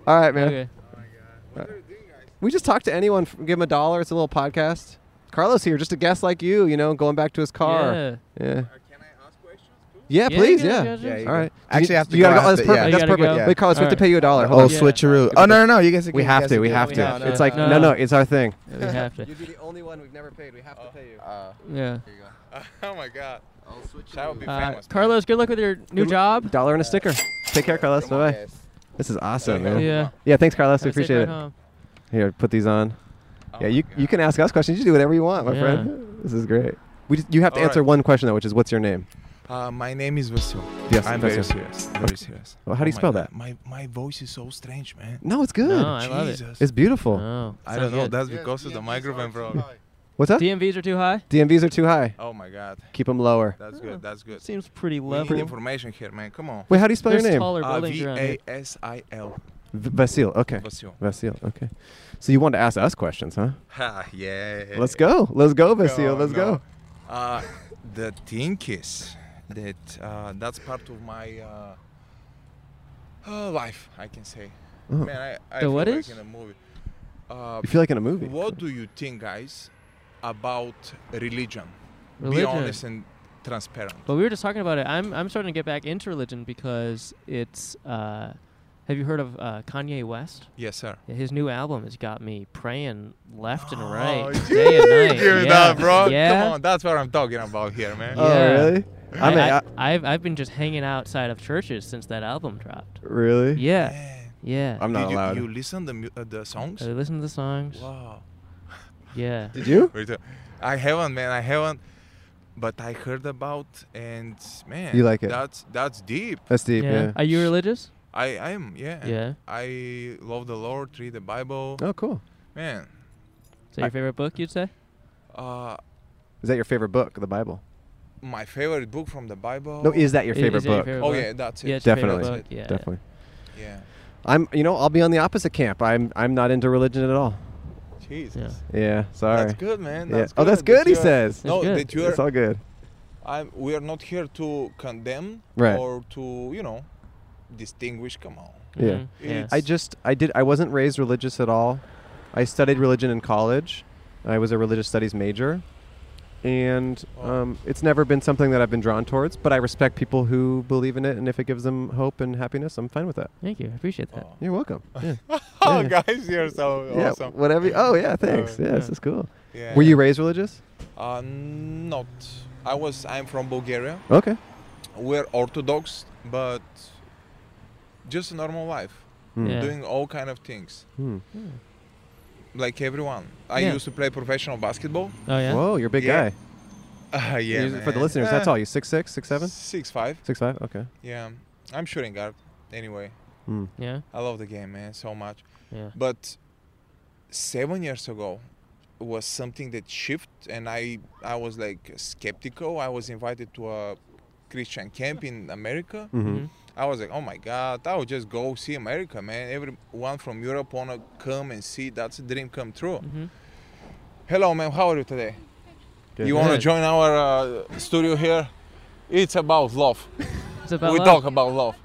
[SPEAKER 5] All right, man.
[SPEAKER 4] Okay.
[SPEAKER 5] We just talk to anyone. f- Give them a dollar. It's a little podcast. Carlos here, just a guest like you. You know, going back to his
[SPEAKER 4] Yeah.
[SPEAKER 5] car. Yeah.
[SPEAKER 6] Can I ask questions? Cool.
[SPEAKER 5] Yeah,
[SPEAKER 4] Yeah,
[SPEAKER 5] please.
[SPEAKER 4] you
[SPEAKER 5] Yeah.
[SPEAKER 4] got it,
[SPEAKER 7] Yeah, you
[SPEAKER 5] All
[SPEAKER 7] go.
[SPEAKER 5] right.
[SPEAKER 7] Actually,
[SPEAKER 5] you,
[SPEAKER 7] I have to
[SPEAKER 5] you
[SPEAKER 7] go
[SPEAKER 5] gotta go.
[SPEAKER 7] after-
[SPEAKER 5] That's perfect.
[SPEAKER 7] yeah.
[SPEAKER 4] You
[SPEAKER 5] That's
[SPEAKER 4] gotta
[SPEAKER 5] perfect.
[SPEAKER 4] go.
[SPEAKER 5] Wait, Carlos, we
[SPEAKER 4] All
[SPEAKER 5] have to
[SPEAKER 4] right.
[SPEAKER 5] pay you a dollar.
[SPEAKER 7] Oh,
[SPEAKER 5] Hold on.
[SPEAKER 4] Yeah.
[SPEAKER 7] switcheroo. Oh no no no! You guys.
[SPEAKER 5] We
[SPEAKER 7] you
[SPEAKER 5] have
[SPEAKER 7] guys
[SPEAKER 5] to. We
[SPEAKER 7] do it.
[SPEAKER 5] have
[SPEAKER 4] We
[SPEAKER 5] to.
[SPEAKER 6] Oh.
[SPEAKER 4] have
[SPEAKER 5] It's
[SPEAKER 4] to.
[SPEAKER 5] like no.
[SPEAKER 4] No.
[SPEAKER 5] no, It's our thing.
[SPEAKER 4] Yeah, We have to.
[SPEAKER 5] the only one we've never paid. We have to pay you.
[SPEAKER 7] Uh,
[SPEAKER 4] Yeah.
[SPEAKER 6] Oh my god. I'll switch. That would be
[SPEAKER 4] Uh,
[SPEAKER 6] famous.
[SPEAKER 4] Carlos, good luck with your new job.
[SPEAKER 5] Dollar and a sticker. Take care, Carlos. Bye bye. This is awesome, man.
[SPEAKER 4] Yeah.
[SPEAKER 5] Yeah, thanks, Carlos.
[SPEAKER 4] Have
[SPEAKER 5] We
[SPEAKER 4] a safe
[SPEAKER 5] appreciate
[SPEAKER 4] ride
[SPEAKER 5] it.
[SPEAKER 4] home.
[SPEAKER 5] Here, put these on.
[SPEAKER 6] Oh
[SPEAKER 5] yeah,
[SPEAKER 6] my
[SPEAKER 5] you you
[SPEAKER 6] God.
[SPEAKER 5] can ask us questions. You do whatever you want, my
[SPEAKER 4] Yeah.
[SPEAKER 5] friend. This is great. We just, you have to
[SPEAKER 6] All
[SPEAKER 5] answer
[SPEAKER 6] right.
[SPEAKER 5] one question though, which is what's your name?
[SPEAKER 6] Uh, my name is Vasil.
[SPEAKER 5] Yes,
[SPEAKER 6] I'm
[SPEAKER 5] that's
[SPEAKER 6] very
[SPEAKER 5] it.
[SPEAKER 6] serious. Very serious.
[SPEAKER 5] Well, how do you
[SPEAKER 6] my
[SPEAKER 5] spell
[SPEAKER 6] God,
[SPEAKER 5] that?
[SPEAKER 6] My my voice is so strange, man.
[SPEAKER 5] No, it's good.
[SPEAKER 4] No, I love it.
[SPEAKER 6] Jesus.
[SPEAKER 5] it's beautiful.
[SPEAKER 4] Oh,
[SPEAKER 6] I
[SPEAKER 4] sounds
[SPEAKER 6] don't know.
[SPEAKER 4] good.
[SPEAKER 6] That's because of the microphone, bro.
[SPEAKER 5] What's up?
[SPEAKER 4] DMVs are too high.
[SPEAKER 5] DMVs are too high.
[SPEAKER 6] Oh my god.
[SPEAKER 5] Keep them lower.
[SPEAKER 6] That's
[SPEAKER 4] Oh.
[SPEAKER 6] good. That's good.
[SPEAKER 4] Seems pretty
[SPEAKER 6] We need
[SPEAKER 4] level.
[SPEAKER 6] information here, man. Come on. Uh,
[SPEAKER 5] Wait, how do you spell
[SPEAKER 4] There's
[SPEAKER 5] your name?
[SPEAKER 4] taller buildings
[SPEAKER 6] V
[SPEAKER 4] around here.
[SPEAKER 6] A S I L.
[SPEAKER 5] V- Vasil. Okay.
[SPEAKER 6] Vasil.
[SPEAKER 5] Vasil. Okay. So you wanted to ask us questions, huh?
[SPEAKER 6] Ha, yeah.
[SPEAKER 5] Let's go. Let's go, Vasil.
[SPEAKER 6] Go,
[SPEAKER 5] Let's
[SPEAKER 6] Oh, no.
[SPEAKER 5] go.
[SPEAKER 6] Uh, the thing is that uh, that's part of my uh, uh, life, I can say.
[SPEAKER 5] Oh.
[SPEAKER 6] Man, I,
[SPEAKER 4] The
[SPEAKER 6] I feel
[SPEAKER 4] what
[SPEAKER 6] like
[SPEAKER 4] is?
[SPEAKER 6] in a movie. Uh,
[SPEAKER 5] You feel like in a movie.
[SPEAKER 6] what do you think, guys, about religion? Be
[SPEAKER 4] Religion.
[SPEAKER 6] honest and transparent.
[SPEAKER 4] But we were just talking about it. I'm I'm starting to get back into religion because it's. Uh, have you heard of uh, Kanye West?
[SPEAKER 6] Yes, sir.
[SPEAKER 4] Yeah, His new album has got me praying left and
[SPEAKER 6] Oh,
[SPEAKER 4] right,
[SPEAKER 6] you
[SPEAKER 4] day and night.
[SPEAKER 6] hear
[SPEAKER 4] yeah.
[SPEAKER 6] that, bro?
[SPEAKER 4] Yeah.
[SPEAKER 6] Come on, that's what I'm talking about here, man.
[SPEAKER 5] Oh,
[SPEAKER 4] Yeah.
[SPEAKER 5] really? I mean, I,
[SPEAKER 4] have I've been just hanging outside of churches since that album dropped.
[SPEAKER 5] really?
[SPEAKER 4] Yeah,
[SPEAKER 6] Yeah.
[SPEAKER 4] yeah.
[SPEAKER 5] I'm not
[SPEAKER 6] Did you,
[SPEAKER 5] allowed.
[SPEAKER 6] you listen the mu- uh, the songs?
[SPEAKER 4] I listen to the songs.
[SPEAKER 6] Wow.
[SPEAKER 4] Yeah.
[SPEAKER 5] Did you?
[SPEAKER 6] Wait, uh, I haven't, man. I haven't. But I heard about and man,
[SPEAKER 5] You like it?
[SPEAKER 6] That's that's deep.
[SPEAKER 5] That's deep. Yeah.
[SPEAKER 4] Are you religious?
[SPEAKER 6] I I am, yeah.
[SPEAKER 4] Yeah.
[SPEAKER 6] I love the Lord, read the Bible,
[SPEAKER 5] Oh, cool.
[SPEAKER 6] man.
[SPEAKER 4] Is that your favorite book? You'd say?
[SPEAKER 6] Uh,
[SPEAKER 5] Is that your favorite book, the Bible?
[SPEAKER 6] my favorite book from the Bible.
[SPEAKER 5] No, is that your
[SPEAKER 4] I-
[SPEAKER 5] favorite
[SPEAKER 4] is that
[SPEAKER 5] book?
[SPEAKER 4] favorite
[SPEAKER 6] Oh
[SPEAKER 4] book?
[SPEAKER 6] yeah, that's it.
[SPEAKER 4] Yeah, it's your favorite
[SPEAKER 5] Definitely.
[SPEAKER 4] book. Yeah.
[SPEAKER 5] Definitely.
[SPEAKER 6] Yeah.
[SPEAKER 5] I'm, you know, I'll be on the opposite camp. I'm, I'm not into religion at all.
[SPEAKER 6] Jesus.
[SPEAKER 5] Yeah, sorry.
[SPEAKER 6] That's good, man.
[SPEAKER 5] Yeah.
[SPEAKER 6] That's
[SPEAKER 5] Oh, that's
[SPEAKER 6] that
[SPEAKER 5] good, he
[SPEAKER 6] you are-
[SPEAKER 5] says.
[SPEAKER 6] No,
[SPEAKER 4] good.
[SPEAKER 6] that you
[SPEAKER 5] It's
[SPEAKER 6] are.
[SPEAKER 5] all good.
[SPEAKER 6] I'm, we are not here to condemn
[SPEAKER 5] Right.
[SPEAKER 6] or to you know distinguish. Come on.
[SPEAKER 5] Yeah.
[SPEAKER 4] Mhm. Yeah.
[SPEAKER 6] It's-
[SPEAKER 5] I just, I did, I wasn't raised religious at all. I studied religion in college. I was a religious studies major, and
[SPEAKER 6] Oh.
[SPEAKER 5] um, it's never been something that I've been drawn towards. But I respect people who believe in it, and if it gives them hope and happiness, I'm fine with that.
[SPEAKER 4] Thank you. I appreciate that.
[SPEAKER 6] Oh.
[SPEAKER 5] You're welcome. Yeah.
[SPEAKER 6] Oh,
[SPEAKER 5] Yeah.
[SPEAKER 6] guys, you're so
[SPEAKER 5] yeah.
[SPEAKER 6] awesome.
[SPEAKER 5] Whatever. You, oh, yeah. Thanks.
[SPEAKER 6] Oh,
[SPEAKER 5] yeah, this
[SPEAKER 4] yeah.
[SPEAKER 5] is cool.
[SPEAKER 6] Yeah.
[SPEAKER 5] Were you raised religious?
[SPEAKER 6] Uh, not. I was. I'm from Bulgaria.
[SPEAKER 5] Okay.
[SPEAKER 6] We're Orthodox, but just a normal life,
[SPEAKER 5] Hmm.
[SPEAKER 4] Yeah.
[SPEAKER 6] doing all kind of things,
[SPEAKER 5] Hmm.
[SPEAKER 6] like everyone. I
[SPEAKER 4] Yeah.
[SPEAKER 6] used to play professional basketball.
[SPEAKER 4] Oh yeah.
[SPEAKER 5] Whoa, you're a big
[SPEAKER 6] Yeah.
[SPEAKER 5] guy.
[SPEAKER 6] Uh, yeah.
[SPEAKER 5] You- for the
[SPEAKER 6] man.
[SPEAKER 5] listeners, that's
[SPEAKER 6] Uh,
[SPEAKER 5] all. You six six, six seven,
[SPEAKER 6] Six five.
[SPEAKER 5] six five. Okay.
[SPEAKER 6] Yeah. I'm shooting guard. Anyway,
[SPEAKER 5] Mm.
[SPEAKER 4] Yeah.
[SPEAKER 6] I love the game, man, so much.
[SPEAKER 4] Yeah.
[SPEAKER 6] But seven years ago, was something that shifted, and I I was like skeptical. I was invited to a Christian camp in America.
[SPEAKER 5] Mm-hmm.
[SPEAKER 6] I was like, oh my God, I would just go see America, man. Everyone from Europe wanna come and see. That's a dream come true.
[SPEAKER 4] Mm-hmm.
[SPEAKER 6] Hello, ma'am. How are you today? You wanna
[SPEAKER 4] Good.
[SPEAKER 6] join our uh, studio here? It's about love.
[SPEAKER 4] It's about
[SPEAKER 6] we
[SPEAKER 4] love.
[SPEAKER 6] talk about love.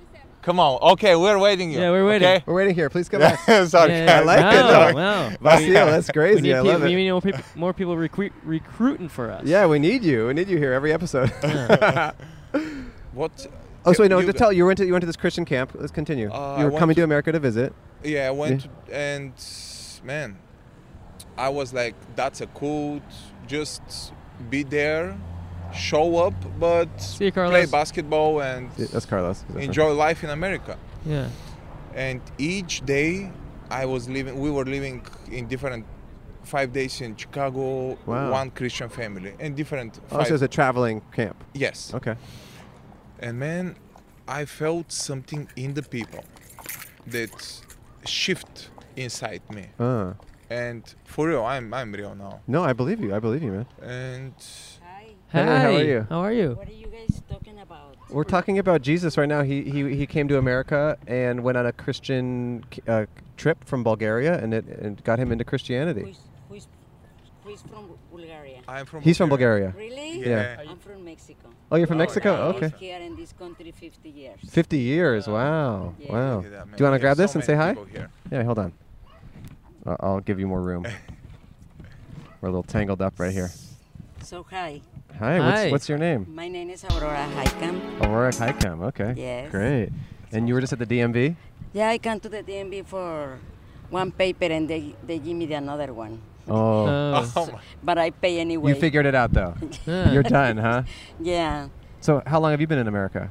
[SPEAKER 6] Come on. Okay, we're waiting you.
[SPEAKER 4] Yeah, we're waiting.
[SPEAKER 6] Okay?
[SPEAKER 5] We're waiting here. Please come back.
[SPEAKER 6] Yeah, Sorry.
[SPEAKER 4] Yeah,
[SPEAKER 6] guys.
[SPEAKER 5] like it,
[SPEAKER 4] no,
[SPEAKER 5] dog.
[SPEAKER 4] Wow.
[SPEAKER 5] Vasile, that's
[SPEAKER 4] We need,
[SPEAKER 5] crazy. I
[SPEAKER 4] people,
[SPEAKER 5] love
[SPEAKER 4] we
[SPEAKER 5] it.
[SPEAKER 4] need more, people, more people recru- recruiting for us.
[SPEAKER 5] Yeah, we need you. We need you here every episode.
[SPEAKER 6] What?
[SPEAKER 5] oh, so wait, no,
[SPEAKER 6] you-
[SPEAKER 5] to tell you went to you went to this Christian camp. Let's continue.
[SPEAKER 6] Uh, I
[SPEAKER 5] you were
[SPEAKER 6] went
[SPEAKER 5] coming to
[SPEAKER 6] to-
[SPEAKER 5] America to visit.
[SPEAKER 6] Yeah, I went to- and man, I was like, that's a cult. Just be there, show up, but
[SPEAKER 4] you,
[SPEAKER 6] play
[SPEAKER 4] Carlos.
[SPEAKER 6] basketball and
[SPEAKER 5] Yeah, That's Carlos. Is that right?
[SPEAKER 6] enjoy life in America.
[SPEAKER 4] Yeah.
[SPEAKER 6] And each day, I was living. We were living in different. Five days in Chicago,
[SPEAKER 5] Wow.
[SPEAKER 6] one Christian family, and different.
[SPEAKER 5] Oh,
[SPEAKER 6] five-
[SPEAKER 5] so it's a traveling camp.
[SPEAKER 6] yes.
[SPEAKER 5] Okay.
[SPEAKER 6] And man, I felt something in the people that shift inside me.
[SPEAKER 5] Uh,
[SPEAKER 6] And for real, I'm I'm real now.
[SPEAKER 5] no, I believe you. I believe you, man.
[SPEAKER 6] And
[SPEAKER 8] Hi,
[SPEAKER 4] Hi.
[SPEAKER 5] Hey, how are you?
[SPEAKER 4] How are you?
[SPEAKER 8] what are you guys talking about?
[SPEAKER 5] We're talking about Jesus right now. He he, he came to America and went on a Christian uh, trip from Bulgaria, and it and got him into Christianity.
[SPEAKER 8] Who's, who's, who's from Bulgaria?
[SPEAKER 6] I'm from.
[SPEAKER 5] He's from Bulgaria.
[SPEAKER 8] Really?
[SPEAKER 6] Yeah.
[SPEAKER 8] I'm from Mexico.
[SPEAKER 5] Oh, you're from
[SPEAKER 6] Oh,
[SPEAKER 5] Uh, Mexico.
[SPEAKER 8] I
[SPEAKER 5] Okay.
[SPEAKER 8] lived here in this country 50 years.
[SPEAKER 5] 50 years. Wow.
[SPEAKER 8] Yeah.
[SPEAKER 5] Wow.
[SPEAKER 6] Look
[SPEAKER 5] Oh. Do
[SPEAKER 6] at that, man.
[SPEAKER 5] you want to
[SPEAKER 6] There's
[SPEAKER 5] grab
[SPEAKER 6] so
[SPEAKER 5] this and
[SPEAKER 6] many
[SPEAKER 5] say hi?
[SPEAKER 6] people here.
[SPEAKER 5] Yeah, hold on. I- I'll give you more room. We're a little tangled up right here.
[SPEAKER 8] So hi,
[SPEAKER 5] Hi,
[SPEAKER 4] Hi.
[SPEAKER 5] What's, what's your name?
[SPEAKER 8] my name is Aurora Haikam.
[SPEAKER 5] Aurora Highcam. Okay.
[SPEAKER 8] Yes.
[SPEAKER 5] Great. And you were just at the DMV?
[SPEAKER 8] Yeah, I come to the DMV for one paper and they, they give me the another one.
[SPEAKER 5] Oh.
[SPEAKER 4] Oh.
[SPEAKER 6] Oh my.
[SPEAKER 8] But I pay anyway.
[SPEAKER 5] you figured it out, though.
[SPEAKER 4] Yeah.
[SPEAKER 5] You're done, huh?
[SPEAKER 8] Yeah.
[SPEAKER 5] So, how long have you been in America?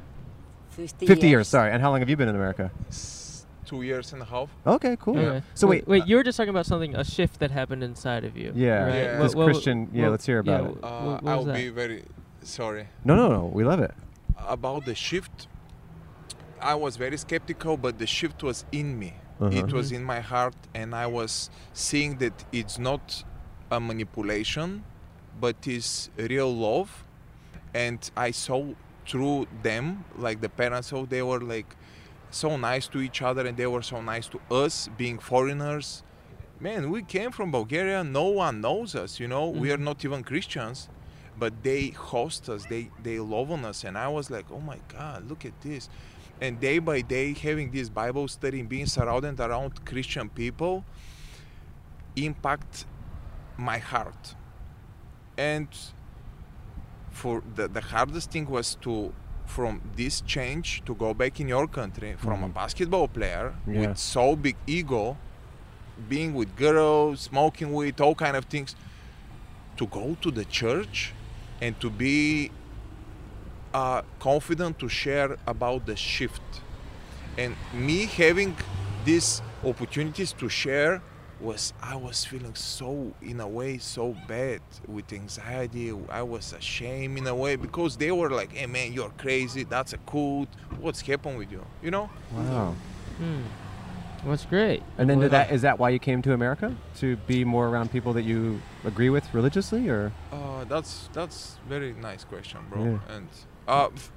[SPEAKER 8] 50,
[SPEAKER 5] 50 years, sorry. And how long have you been in America?
[SPEAKER 6] s- Two years and a half. Uh,
[SPEAKER 5] Okay, cool.
[SPEAKER 4] Okay.
[SPEAKER 5] So, wait.
[SPEAKER 4] wait, you were just talking about something, a shift that happened inside of you.
[SPEAKER 5] Yeah.
[SPEAKER 4] right?
[SPEAKER 6] Yeah.
[SPEAKER 4] What-
[SPEAKER 6] This
[SPEAKER 4] what-
[SPEAKER 5] Christian- yeah,
[SPEAKER 4] what-
[SPEAKER 5] let's hear about
[SPEAKER 4] yeah,
[SPEAKER 5] it.
[SPEAKER 4] wh-
[SPEAKER 6] Uh,
[SPEAKER 4] what was
[SPEAKER 6] I'll
[SPEAKER 4] that?
[SPEAKER 6] be very sorry
[SPEAKER 5] No, no, no. We love it.
[SPEAKER 6] about the shift. I was very skeptical, but the shift was in me.
[SPEAKER 5] Uh-huh.
[SPEAKER 6] It was in my heart, and I was seeing that it's not a manipulation, but is real love. And I saw through them, like the parents, how they were like so nice to each other, and they were so nice to us, being foreigners. Man, we came from Bulgaria. No one knows us. You know, we are not even Christians, but they host us. They they love on us, and I was like, oh my God, look at this. And day by day, having this Bible study, and being surrounded around Christian people, impact my heart. And for the, the hardest thing was to from this change to go back in your country from a basketball player
[SPEAKER 5] Yeah.
[SPEAKER 6] with so big ego being with girls smoking with all kind of things to go to the church and to be uh, confident to share about the shift and me having these opportunities to share was i was feeling so in a way so bad with anxiety i was ashamed in a way because they were like hey man you're crazy that's a cult what's happened with you you know
[SPEAKER 5] Wow.
[SPEAKER 4] That's Hmm. great.
[SPEAKER 5] And then
[SPEAKER 4] What
[SPEAKER 5] did that
[SPEAKER 4] about-
[SPEAKER 5] is that why you came to America to be more around people that you agree with religiously, or
[SPEAKER 6] Uh, that's that's very nice question, bro.
[SPEAKER 5] Yeah.
[SPEAKER 6] And uh, f-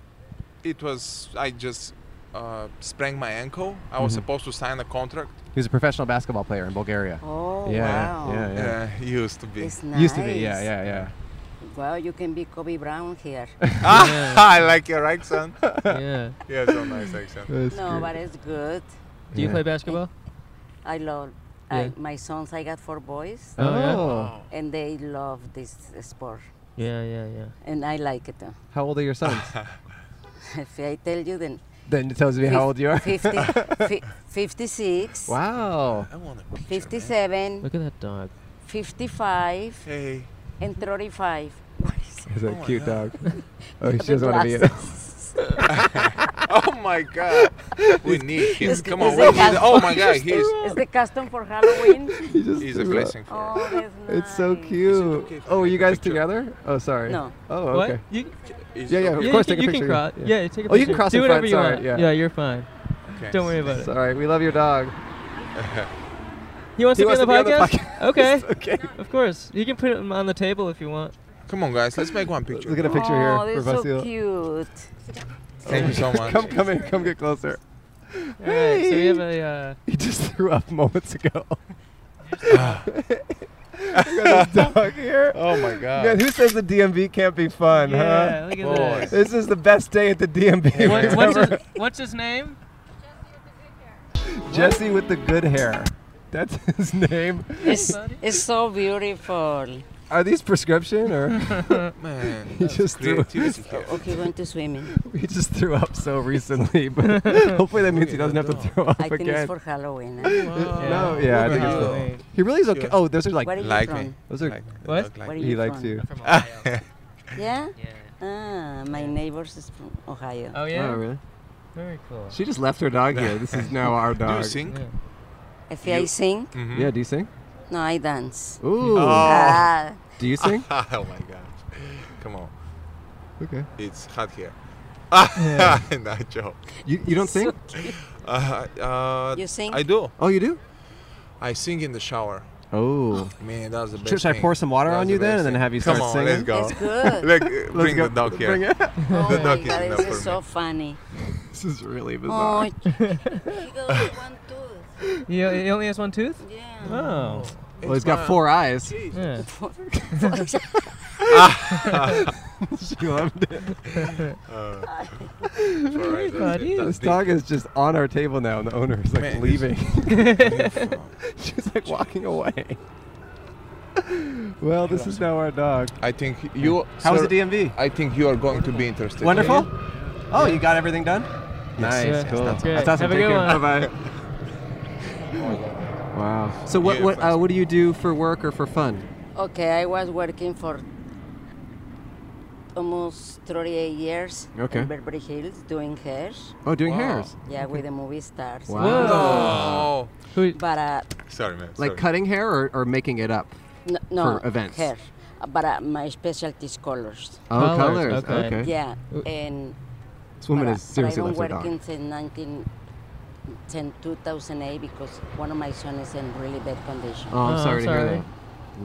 [SPEAKER 6] it was I just uh, sprained my ankle. I
[SPEAKER 5] Mm-hmm.
[SPEAKER 6] was supposed to sign a contract.
[SPEAKER 5] he was a professional basketball player in Bulgaria?
[SPEAKER 8] Oh,
[SPEAKER 5] yeah,
[SPEAKER 8] wow.
[SPEAKER 5] yeah, yeah,
[SPEAKER 6] Yeah, used to be.
[SPEAKER 8] It's Oh, nice.
[SPEAKER 5] Used to be, yeah, yeah, yeah.
[SPEAKER 8] Wow, you can be Kobe Brown here.
[SPEAKER 6] Ah, I like your accent.
[SPEAKER 4] yeah.
[SPEAKER 6] yeah, so nice accent.
[SPEAKER 8] no, but it's good.
[SPEAKER 4] Do you
[SPEAKER 5] Yeah.
[SPEAKER 4] play basketball?
[SPEAKER 8] I love
[SPEAKER 4] Yeah.
[SPEAKER 8] I, my sons. I got four boys,
[SPEAKER 4] Oh, yeah?
[SPEAKER 5] Oh.
[SPEAKER 8] and they love this sport,
[SPEAKER 4] Yeah, yeah, yeah.
[SPEAKER 8] and I like it. too.
[SPEAKER 5] How old are your sons?
[SPEAKER 8] If I tell you, then
[SPEAKER 5] then it tells me
[SPEAKER 8] fif-
[SPEAKER 5] how old you are.
[SPEAKER 8] 50, fi- 56,
[SPEAKER 5] Wow.
[SPEAKER 6] I want a picture. man.
[SPEAKER 8] 57,
[SPEAKER 4] Look at that dog.
[SPEAKER 8] 55,
[SPEAKER 6] Hey,
[SPEAKER 8] and 35. What is
[SPEAKER 5] He's
[SPEAKER 6] a Oh my cute God.
[SPEAKER 5] dog. Oh, she
[SPEAKER 8] the
[SPEAKER 5] doesn't want to be in it.
[SPEAKER 8] glasses?
[SPEAKER 6] oh my God, we need him.
[SPEAKER 8] It's-
[SPEAKER 6] Come
[SPEAKER 8] it's
[SPEAKER 6] on,
[SPEAKER 8] a
[SPEAKER 6] we need.
[SPEAKER 8] custom-
[SPEAKER 6] Oh my God, he's
[SPEAKER 8] It's the custom for Halloween.
[SPEAKER 6] he's a blessing for us.
[SPEAKER 8] oh, that's nice.
[SPEAKER 5] It's so
[SPEAKER 6] Is it
[SPEAKER 5] cute.
[SPEAKER 6] okay if I
[SPEAKER 5] Oh, are
[SPEAKER 6] take
[SPEAKER 5] you
[SPEAKER 6] a
[SPEAKER 5] guys
[SPEAKER 6] picture?
[SPEAKER 5] together? Oh, sorry.
[SPEAKER 8] No.
[SPEAKER 5] Oh,
[SPEAKER 4] What?
[SPEAKER 5] okay.
[SPEAKER 4] You,
[SPEAKER 6] Is
[SPEAKER 5] Yeah,
[SPEAKER 6] it
[SPEAKER 5] yeah,
[SPEAKER 6] okay?
[SPEAKER 5] of
[SPEAKER 4] yeah,
[SPEAKER 5] course,
[SPEAKER 4] you
[SPEAKER 5] take a
[SPEAKER 4] can,
[SPEAKER 5] picture.
[SPEAKER 4] You can cross.
[SPEAKER 5] Yeah.
[SPEAKER 4] Yeah. take a picture.
[SPEAKER 5] Oh, you can cross
[SPEAKER 4] Do
[SPEAKER 5] in
[SPEAKER 4] whatever
[SPEAKER 5] front,
[SPEAKER 4] you
[SPEAKER 5] sorry,
[SPEAKER 4] want.
[SPEAKER 5] yeah.
[SPEAKER 4] you're fine.
[SPEAKER 6] Okay.
[SPEAKER 4] Don't worry about it.
[SPEAKER 5] Sorry, we love your dog.
[SPEAKER 4] He wants
[SPEAKER 5] He
[SPEAKER 4] to be
[SPEAKER 5] wants
[SPEAKER 4] on the
[SPEAKER 5] to be on the
[SPEAKER 4] podcast. okay,
[SPEAKER 5] okay.
[SPEAKER 4] of course. You can put him on the table if you want.
[SPEAKER 6] Come on, guys, let's make one picture.
[SPEAKER 5] Look at a picture here
[SPEAKER 8] Oh, they're
[SPEAKER 5] for
[SPEAKER 8] so
[SPEAKER 5] Vasily.
[SPEAKER 8] cute.
[SPEAKER 6] Thank you so much.
[SPEAKER 5] Come, come in, come get closer.
[SPEAKER 4] All right, so we have
[SPEAKER 5] Hey.
[SPEAKER 4] a. Uh,
[SPEAKER 5] He just threw up moments ago. Look at this dog here.
[SPEAKER 6] Oh my God.
[SPEAKER 5] Man, who says the DMV can't be fun,
[SPEAKER 4] yeah,
[SPEAKER 5] huh?
[SPEAKER 4] look at
[SPEAKER 6] Boys.
[SPEAKER 4] this.
[SPEAKER 5] This is the best day at the DMV.
[SPEAKER 4] What,
[SPEAKER 5] we've
[SPEAKER 4] what's,
[SPEAKER 5] ever-
[SPEAKER 4] his, what's his name?
[SPEAKER 5] Jesse with the good hair. That's his name.
[SPEAKER 8] It's, it's so beautiful.
[SPEAKER 5] Are these prescription or
[SPEAKER 6] Man,
[SPEAKER 5] He
[SPEAKER 6] that's
[SPEAKER 5] just threw- Oh,
[SPEAKER 6] creativity here.
[SPEAKER 8] Okay, going to swimming.
[SPEAKER 5] he just threw up so recently? But hopefully that means he doesn't have to throw up
[SPEAKER 8] I think it's
[SPEAKER 5] again.
[SPEAKER 8] for Halloween. eh?
[SPEAKER 5] No, yeah, I think it's
[SPEAKER 6] Wow.
[SPEAKER 4] Halloween.
[SPEAKER 5] He really is okay.
[SPEAKER 6] Yeah.
[SPEAKER 5] Oh, those are
[SPEAKER 8] Where are
[SPEAKER 5] like
[SPEAKER 8] you
[SPEAKER 6] Like
[SPEAKER 8] from?
[SPEAKER 6] me.
[SPEAKER 5] those are.
[SPEAKER 6] Like,
[SPEAKER 4] What?
[SPEAKER 6] look like
[SPEAKER 8] Where are
[SPEAKER 6] me.
[SPEAKER 8] you
[SPEAKER 5] He likes
[SPEAKER 8] from?
[SPEAKER 5] you.
[SPEAKER 1] I'm from Ohio.
[SPEAKER 8] Yeah?
[SPEAKER 1] yeah.
[SPEAKER 8] Ah, my neighbors is from Ohio.
[SPEAKER 4] Oh yeah,
[SPEAKER 5] Oh, really?
[SPEAKER 4] very cool.
[SPEAKER 5] She just left her dog here. This is now our
[SPEAKER 6] Do you
[SPEAKER 5] dog.
[SPEAKER 6] sing?
[SPEAKER 4] Yeah.
[SPEAKER 8] If I sing,
[SPEAKER 6] Mhm.
[SPEAKER 5] Yeah, do you sing?
[SPEAKER 8] no, I dance.
[SPEAKER 5] Ooh.
[SPEAKER 8] Ah,
[SPEAKER 5] Do you sing?
[SPEAKER 6] oh my God. Come on.
[SPEAKER 5] Okay.
[SPEAKER 6] It's hot here. Ah, Not joke.
[SPEAKER 5] You, you don't sing?
[SPEAKER 6] Uh, uh,
[SPEAKER 8] You sing?
[SPEAKER 6] I do.
[SPEAKER 5] Oh, you do?
[SPEAKER 6] I sing in the shower.
[SPEAKER 5] Oh.
[SPEAKER 6] Man, that's the best.
[SPEAKER 5] Should, should I pour
[SPEAKER 6] thing.
[SPEAKER 5] some water
[SPEAKER 6] That's
[SPEAKER 5] on you
[SPEAKER 6] the
[SPEAKER 5] then
[SPEAKER 6] best
[SPEAKER 5] and then
[SPEAKER 6] thing.
[SPEAKER 5] have you
[SPEAKER 6] Come
[SPEAKER 5] start
[SPEAKER 6] on,
[SPEAKER 5] singing?
[SPEAKER 6] Let's go.
[SPEAKER 8] it's good.
[SPEAKER 6] Let, uh, bring
[SPEAKER 5] go-
[SPEAKER 6] the dog here.
[SPEAKER 5] bring it.
[SPEAKER 8] Oh
[SPEAKER 6] The
[SPEAKER 8] my
[SPEAKER 6] duck is
[SPEAKER 8] God,
[SPEAKER 6] enough
[SPEAKER 8] this
[SPEAKER 6] for
[SPEAKER 8] is so
[SPEAKER 6] me.
[SPEAKER 8] funny.
[SPEAKER 5] This is really
[SPEAKER 8] Oh,
[SPEAKER 5] bizarre.
[SPEAKER 8] he goes one tooth.
[SPEAKER 4] He, he only has one tooth.
[SPEAKER 8] Yeah.
[SPEAKER 4] Oh.
[SPEAKER 5] well, he's got four eyes.
[SPEAKER 4] Yeah.
[SPEAKER 5] Ah. She loved it.
[SPEAKER 6] It's all right, that's it,
[SPEAKER 5] This
[SPEAKER 6] that's
[SPEAKER 5] dog is just on our table now, and the owner is like
[SPEAKER 6] Man, he's-
[SPEAKER 5] leaving.
[SPEAKER 6] deep.
[SPEAKER 5] She's like walking away. well, this is now our dog.
[SPEAKER 6] I think you.
[SPEAKER 5] How was
[SPEAKER 6] sir,
[SPEAKER 5] the DMV?
[SPEAKER 6] I think you are going to be interested.
[SPEAKER 5] Wonderful. Oh, you got everything done. Nice.
[SPEAKER 4] Yeah.
[SPEAKER 5] Yes, that's,
[SPEAKER 4] Great.
[SPEAKER 5] that's
[SPEAKER 4] Have
[SPEAKER 5] awesome.
[SPEAKER 4] a
[SPEAKER 5] Take
[SPEAKER 4] good
[SPEAKER 5] care.
[SPEAKER 4] one.
[SPEAKER 5] Bye bye. Wow. So what
[SPEAKER 6] what- Yeah,
[SPEAKER 5] what
[SPEAKER 6] what, uh,
[SPEAKER 5] what do you do for work or for fun?
[SPEAKER 8] Okay, I was working for almost 38 years
[SPEAKER 5] Okay.
[SPEAKER 8] in Beverly Hills doing hair.
[SPEAKER 5] Oh, doing
[SPEAKER 6] Wow.
[SPEAKER 5] hairs.
[SPEAKER 8] Yeah, with the movie stars.
[SPEAKER 5] Wow.
[SPEAKER 4] Whoa.
[SPEAKER 6] Oh,
[SPEAKER 4] Who,
[SPEAKER 8] But uh,
[SPEAKER 6] sorry, man.
[SPEAKER 5] Like
[SPEAKER 6] sorry.
[SPEAKER 5] cutting hair or, or making it up.
[SPEAKER 8] no, no
[SPEAKER 5] For events.
[SPEAKER 8] hair. Uh, But uh, my specialty is colors.
[SPEAKER 5] Oh,
[SPEAKER 4] Colors,
[SPEAKER 5] colors.
[SPEAKER 4] okay.
[SPEAKER 5] Okay.
[SPEAKER 8] Yeah, and
[SPEAKER 5] This woman
[SPEAKER 8] but,
[SPEAKER 5] is seriously
[SPEAKER 8] but I've
[SPEAKER 5] loves her
[SPEAKER 8] been
[SPEAKER 5] dog.
[SPEAKER 8] working since 19, since 2008 because one of my son is in really bad condition.
[SPEAKER 5] Oh, I'm
[SPEAKER 4] Oh,
[SPEAKER 5] sorry,
[SPEAKER 4] sorry.
[SPEAKER 5] to hear that.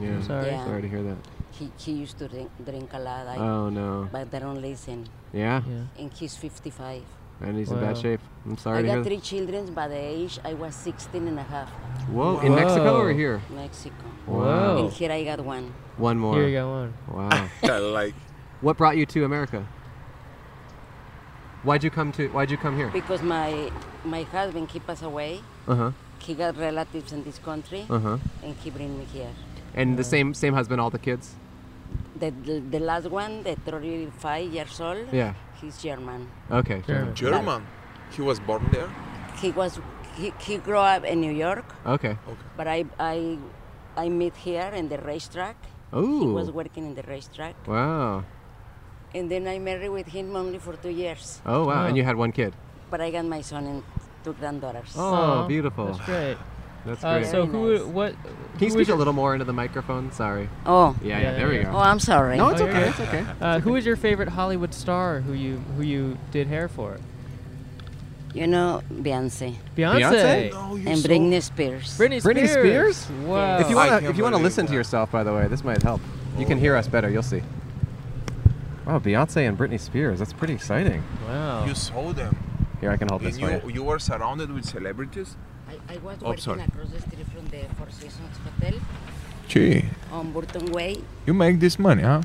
[SPEAKER 5] Yeah.
[SPEAKER 4] sorry.
[SPEAKER 8] Yeah.
[SPEAKER 5] Sorry to hear that.
[SPEAKER 8] He, he used to drink, drink a lot, I,
[SPEAKER 5] Oh no.
[SPEAKER 8] but they don't listen.
[SPEAKER 5] Yeah.
[SPEAKER 4] yeah.
[SPEAKER 8] And he's 55.
[SPEAKER 5] And he's in
[SPEAKER 4] Wow.
[SPEAKER 5] bad shape. I'm sorry to
[SPEAKER 8] I
[SPEAKER 5] hear
[SPEAKER 8] got
[SPEAKER 5] that.
[SPEAKER 8] three children by the age I was 16 and a half,
[SPEAKER 5] Whoa. In Mexico or
[SPEAKER 4] Whoa.
[SPEAKER 5] here?
[SPEAKER 8] Mexico.
[SPEAKER 4] Whoa.
[SPEAKER 8] And here I got one.
[SPEAKER 5] One more.
[SPEAKER 4] Here you go one.
[SPEAKER 5] Wow.
[SPEAKER 6] Yeah, like
[SPEAKER 5] what brought you to America? Why'd you come to? Why'd you come here?
[SPEAKER 8] Because my my husband, he passed away.
[SPEAKER 5] Uh huh.
[SPEAKER 8] He got relatives in this country,
[SPEAKER 5] Uh huh.
[SPEAKER 8] and he bring me here.
[SPEAKER 5] And the same same husband, all the kids.
[SPEAKER 8] The, the, the last one, the 35 years old,
[SPEAKER 5] Yeah.
[SPEAKER 8] he's German.
[SPEAKER 5] Okay. fair
[SPEAKER 4] Sure.
[SPEAKER 5] enough.
[SPEAKER 6] German. He was born there.
[SPEAKER 8] He was he, he grew up in New York,
[SPEAKER 5] Okay.
[SPEAKER 8] but I I I met here in the racetrack. He was
[SPEAKER 5] Ooh.
[SPEAKER 8] working in the racetrack,
[SPEAKER 5] Wow.
[SPEAKER 8] and then I married with him only for two years.
[SPEAKER 5] Oh wow.
[SPEAKER 4] Wow.
[SPEAKER 5] And you had one kid.
[SPEAKER 8] But I got my son and two granddaughters.
[SPEAKER 5] Oh,
[SPEAKER 4] Aw,
[SPEAKER 5] beautiful.
[SPEAKER 4] That's great.
[SPEAKER 5] That's
[SPEAKER 4] Uh,
[SPEAKER 5] great.
[SPEAKER 4] so who?
[SPEAKER 8] Very nice.
[SPEAKER 4] What?
[SPEAKER 5] Can you
[SPEAKER 4] who
[SPEAKER 5] speak
[SPEAKER 4] is
[SPEAKER 5] a
[SPEAKER 4] your-
[SPEAKER 5] little more into the microphone? Sorry.
[SPEAKER 8] Oh,
[SPEAKER 5] Yeah.
[SPEAKER 4] Yeah,
[SPEAKER 5] Yeah. There we
[SPEAKER 4] yeah.
[SPEAKER 5] go.
[SPEAKER 8] oh, I'm sorry.
[SPEAKER 5] No, it's
[SPEAKER 4] Oh, you're
[SPEAKER 5] okay.
[SPEAKER 4] good.
[SPEAKER 5] It's okay.
[SPEAKER 4] Uh, who is your favorite Hollywood star who you who you did hair for?
[SPEAKER 8] You know, Beyonce
[SPEAKER 4] Beyonce.
[SPEAKER 6] No, you
[SPEAKER 8] and
[SPEAKER 6] saw-
[SPEAKER 8] Britney Spears.
[SPEAKER 4] Britney Spears.
[SPEAKER 5] Britney Spears?
[SPEAKER 4] Wow.
[SPEAKER 5] If you
[SPEAKER 6] I
[SPEAKER 5] want to,
[SPEAKER 6] can't
[SPEAKER 5] if you want to
[SPEAKER 6] believe
[SPEAKER 5] listen to
[SPEAKER 6] that.
[SPEAKER 5] yourself, by the way, this might help. You can hear us better. You'll see. Wow, Oh, Beyonce and Britney Spears. That's pretty exciting.
[SPEAKER 4] wow.
[SPEAKER 6] You saw them.
[SPEAKER 5] Here, I can hold this
[SPEAKER 6] And
[SPEAKER 5] for
[SPEAKER 6] you,
[SPEAKER 5] you.
[SPEAKER 6] you were surrounded with celebrities.
[SPEAKER 8] I, I was
[SPEAKER 6] Oh,
[SPEAKER 8] working
[SPEAKER 6] sorry.
[SPEAKER 8] across the street from the Four Seasons Hotel
[SPEAKER 6] Gee,
[SPEAKER 8] on Burton Way.
[SPEAKER 6] you make this money, huh?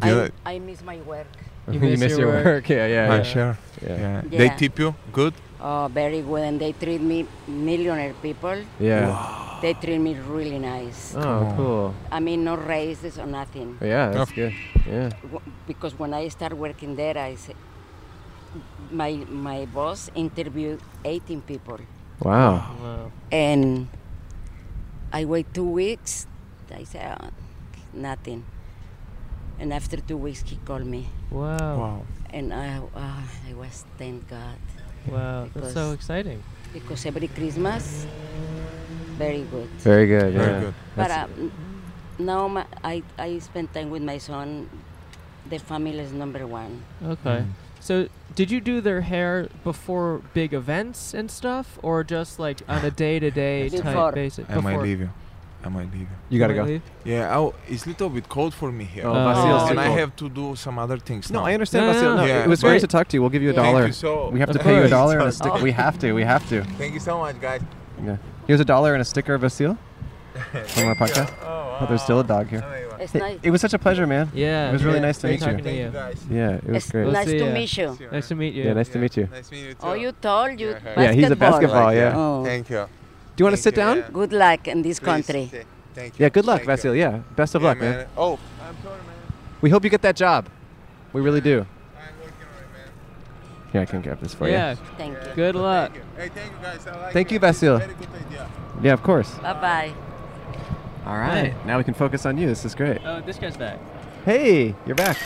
[SPEAKER 6] Good.
[SPEAKER 8] I, I miss my work.
[SPEAKER 4] You miss your work.
[SPEAKER 5] Yeah, yeah, yeah.
[SPEAKER 6] sure.
[SPEAKER 5] Yeah.
[SPEAKER 6] They
[SPEAKER 8] Yeah.
[SPEAKER 6] tip you good.
[SPEAKER 8] Oh, very good. And they treat me, millionaire people,
[SPEAKER 5] Yeah.
[SPEAKER 8] they treat me really nice.
[SPEAKER 5] Oh, cool.
[SPEAKER 8] I mean, no raises or nothing.
[SPEAKER 5] Yeah, that's good. Yeah.
[SPEAKER 8] W- Because when I started working there, I said, my, my boss interviewed 18 people.
[SPEAKER 5] Wow.
[SPEAKER 4] Wow.
[SPEAKER 8] And I wait two weeks. I said, "Oh, nothing. And after two weeks, he called me.
[SPEAKER 5] Oh.
[SPEAKER 4] Wow.
[SPEAKER 8] And I, ah, I was, thank God.
[SPEAKER 4] Wow. That's so
[SPEAKER 8] Because-
[SPEAKER 4] exciting.
[SPEAKER 8] Because every Christmas, very good.
[SPEAKER 5] Very good.
[SPEAKER 6] Very
[SPEAKER 5] yeah.
[SPEAKER 6] good.
[SPEAKER 8] But uh, n- now my,
[SPEAKER 5] Mm.
[SPEAKER 8] I, I spend time with my son. The family is number one.
[SPEAKER 4] Okay. So, did you do their hair before big events and stuff, or just like on a day-to-day
[SPEAKER 8] Before.
[SPEAKER 4] type basis?
[SPEAKER 6] I might leave you. I might leave you.
[SPEAKER 5] You gotta go.
[SPEAKER 4] Leave?
[SPEAKER 6] Yeah, I'll, it's little bit cold for me here.
[SPEAKER 5] Oh,
[SPEAKER 4] Uh,
[SPEAKER 5] Vasil's
[SPEAKER 4] Oh.
[SPEAKER 5] too
[SPEAKER 6] and I
[SPEAKER 5] cold.
[SPEAKER 6] have to do some other things
[SPEAKER 5] No,
[SPEAKER 6] now.
[SPEAKER 5] I understand.
[SPEAKER 4] No, no,
[SPEAKER 5] Vasil.
[SPEAKER 4] no,
[SPEAKER 5] No,
[SPEAKER 6] no.
[SPEAKER 5] It was
[SPEAKER 6] Yeah.
[SPEAKER 5] great to talk to you. We'll give you a
[SPEAKER 6] Thank
[SPEAKER 5] dollar.
[SPEAKER 6] you so-
[SPEAKER 5] we have to
[SPEAKER 4] Of
[SPEAKER 5] pay you a
[SPEAKER 4] course.
[SPEAKER 5] dollar and a sticker.
[SPEAKER 8] Oh.
[SPEAKER 5] We have to. We have to.
[SPEAKER 6] Thank you so much, guys.
[SPEAKER 5] Yeah. Here's a dollar and a sticker of Vasil from our podcast. Oh, there's still a dog here.
[SPEAKER 8] It's
[SPEAKER 5] Hey,
[SPEAKER 8] nice.
[SPEAKER 5] it was such a pleasure, man.
[SPEAKER 4] Yeah.
[SPEAKER 5] It was really nice to
[SPEAKER 4] great
[SPEAKER 5] meet
[SPEAKER 4] talking to you.
[SPEAKER 5] you.
[SPEAKER 6] guys.
[SPEAKER 5] Yeah, it was
[SPEAKER 8] It's
[SPEAKER 5] great.
[SPEAKER 8] nice
[SPEAKER 4] see
[SPEAKER 8] to
[SPEAKER 4] ya.
[SPEAKER 8] meet you.
[SPEAKER 4] Nice to meet you.
[SPEAKER 5] Yeah, nice to meet you.
[SPEAKER 6] Nice to meet you too.
[SPEAKER 8] Oh, you told you.
[SPEAKER 6] Yeah,
[SPEAKER 5] Yeah, he's a basketball. Yeah.
[SPEAKER 8] Oh.
[SPEAKER 6] Thank you.
[SPEAKER 5] Do you want to sit
[SPEAKER 6] Thank you,
[SPEAKER 5] down?
[SPEAKER 6] yeah.
[SPEAKER 8] Good luck in this
[SPEAKER 6] Please
[SPEAKER 8] country.
[SPEAKER 6] stay. Thank you.
[SPEAKER 5] Yeah. Good luck,
[SPEAKER 6] Thank you.
[SPEAKER 5] Vasil. Yeah. Best of
[SPEAKER 6] Yeah,
[SPEAKER 5] luck, man.
[SPEAKER 6] Oh, I'm sorry, man.
[SPEAKER 5] We hope you get that job. We really do.
[SPEAKER 6] I'm working on it, man.
[SPEAKER 5] Here, I can grab this for
[SPEAKER 4] Yeah.
[SPEAKER 8] Thank you.
[SPEAKER 4] Good luck.
[SPEAKER 6] Thank you. Hey, thank you guys. I like
[SPEAKER 5] Thank
[SPEAKER 6] it.
[SPEAKER 5] you, Vasil.
[SPEAKER 6] It's a Very good idea.
[SPEAKER 5] you. Yeah, of course.
[SPEAKER 8] Bye bye.
[SPEAKER 5] All right. Now we can focus on you. This is great.
[SPEAKER 4] Oh, this guy's back.
[SPEAKER 5] Hey, you're back.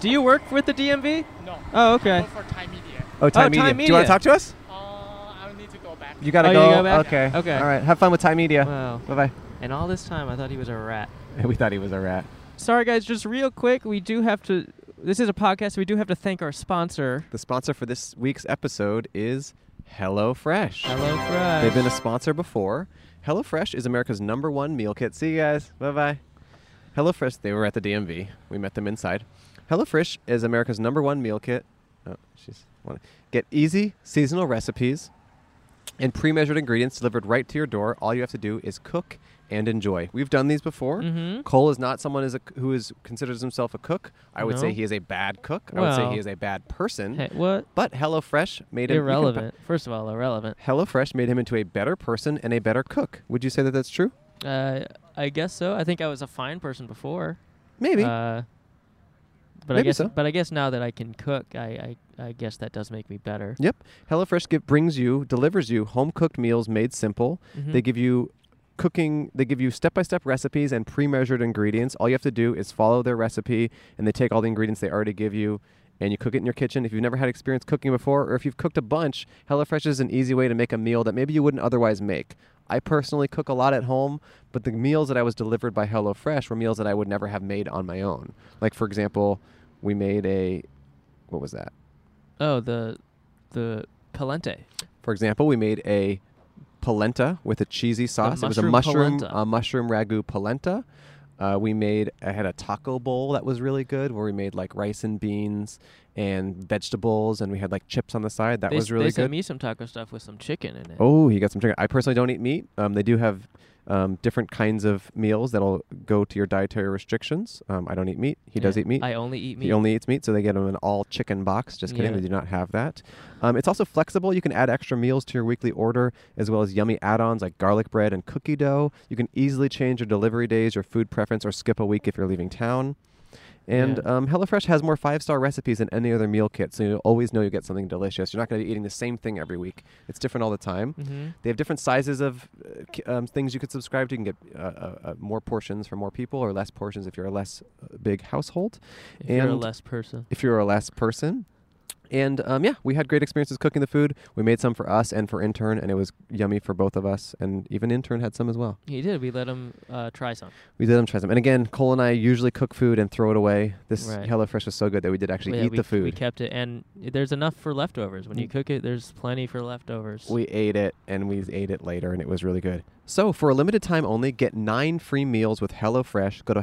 [SPEAKER 4] Do you work with the DMV? No. Oh, okay.
[SPEAKER 9] for Thai media.
[SPEAKER 5] Oh,
[SPEAKER 4] Thai
[SPEAKER 5] Thai, Media. Do you
[SPEAKER 4] Media.
[SPEAKER 5] want to talk to us?
[SPEAKER 9] Uh, I will need to go back.
[SPEAKER 5] You gotta
[SPEAKER 4] Oh, you
[SPEAKER 5] go.
[SPEAKER 4] go back?
[SPEAKER 5] Okay.
[SPEAKER 4] Okay.
[SPEAKER 5] All right. Have fun with Thai Media.
[SPEAKER 4] Wow.
[SPEAKER 5] Bye bye.
[SPEAKER 4] And all this time, I thought he was a rat.
[SPEAKER 5] We thought he was a rat.
[SPEAKER 4] Sorry, guys. Just real quick, we do have to. This is a podcast. We do have to thank our sponsor,
[SPEAKER 5] The sponsor for this week's episode is HelloFresh.
[SPEAKER 4] HelloFresh.
[SPEAKER 5] They've been a sponsor before. HelloFresh is America's number one meal kit. See you guys. Bye bye. HelloFresh, they were at the DMV. We met them inside. HelloFresh is America's number one meal kit. Oh, she's wanna Get easy seasonal recipes and pre measured ingredients delivered right to your door. All you have to do is cook and enjoy. We've done these before.
[SPEAKER 4] Mhm.
[SPEAKER 5] Cole is not someone is a, who is considers himself a cook. I would say
[SPEAKER 4] No.
[SPEAKER 5] he is a bad cook. I would say
[SPEAKER 4] Well.
[SPEAKER 5] he is a bad person.
[SPEAKER 4] Hey, what?
[SPEAKER 5] But HelloFresh made him you can-
[SPEAKER 4] Irrelevant. First of all, irrelevant.
[SPEAKER 5] HelloFresh made him into a better person and a better cook. Would you say that that's true?
[SPEAKER 4] Uh, I guess so. I think I was a fine person before.
[SPEAKER 5] Maybe.
[SPEAKER 4] Uh, but I
[SPEAKER 5] Maybe
[SPEAKER 4] guess,
[SPEAKER 5] so.
[SPEAKER 4] but I guess now that I can cook, I, I, I guess that does make me better.
[SPEAKER 5] yep. HelloFresh give, brings you, delivers you home cooked meals made simple.
[SPEAKER 4] Mm-hmm.
[SPEAKER 5] They give you cooking, they give you step by step recipes and pre measured ingredients. All you have to do is follow their recipe and they take all the ingredients they already give you. And you cook it in your kitchen. If you've never had experience cooking before, or if you've cooked a bunch, HelloFresh is an easy way to make a meal that maybe you wouldn't otherwise make. I personally cook a lot at home, but the meals that I was delivered by HelloFresh were meals that I would never have made on my own. Like, for example, we made a, what was that?
[SPEAKER 4] Oh, the, the polente.
[SPEAKER 5] For example, we made a polenta with a cheesy sauce. It was a
[SPEAKER 4] mushroom
[SPEAKER 5] mushroom
[SPEAKER 4] polenta.
[SPEAKER 5] a mushroom ragu polenta. Uh, we made I had a taco bowl that was really good where we made like rice and beans and vegetables and we had like chips on the side. That
[SPEAKER 4] they
[SPEAKER 5] was
[SPEAKER 4] s-
[SPEAKER 5] really
[SPEAKER 4] they sent
[SPEAKER 5] good.
[SPEAKER 4] me some taco stuff with some chicken in it.
[SPEAKER 5] Oh, you got some chicken. I personally don't eat meat. Um, they do have um, different kinds of meals that'll go to your dietary restrictions. Um, I don't eat meat. He does
[SPEAKER 4] Yeah.
[SPEAKER 5] eat meat.
[SPEAKER 4] I only eat meat.
[SPEAKER 5] He only eats meat, so they get him an all chicken box. Just kidding,
[SPEAKER 4] Yeah.
[SPEAKER 5] they do not have that. Um, it's also flexible. You can add extra meals to your weekly order, as well as yummy add ons like garlic bread and cookie dough. You can easily change your delivery days, your food preference, or skip a week if you're leaving town. And
[SPEAKER 4] Yeah.
[SPEAKER 5] um, HelloFresh has more five star recipes than any other meal kit, so you always know you'll get something delicious. You're not going to be eating the same thing every week, it's different all the time.
[SPEAKER 4] Mhm.
[SPEAKER 5] They have different sizes of uh, ki- um, things you could subscribe to. You can get uh, uh, uh, more portions for more people, or less portions if you're a less uh, big household
[SPEAKER 4] If you're a
[SPEAKER 5] and-
[SPEAKER 4] less person.
[SPEAKER 5] if you're a last person. And um, yeah, we had great experiences cooking the food. We made some for us and for intern, and it was yummy for both of us. And even intern had some as well.
[SPEAKER 4] He did. We let him uh, try some.
[SPEAKER 5] We did them try some. And again, Cole and I usually cook food and throw it away. This
[SPEAKER 4] Right.
[SPEAKER 5] HelloFresh was so good that we did actually
[SPEAKER 4] Yeah,
[SPEAKER 5] eat
[SPEAKER 4] we, We
[SPEAKER 5] the food.
[SPEAKER 4] kept it, and there's enough for leftovers. When you
[SPEAKER 5] Mm.
[SPEAKER 4] cook it, there's plenty for leftovers.
[SPEAKER 5] We ate it and we ate it later, and it was really good. So for a limited time only, get nine free meals with HelloFresh. Go to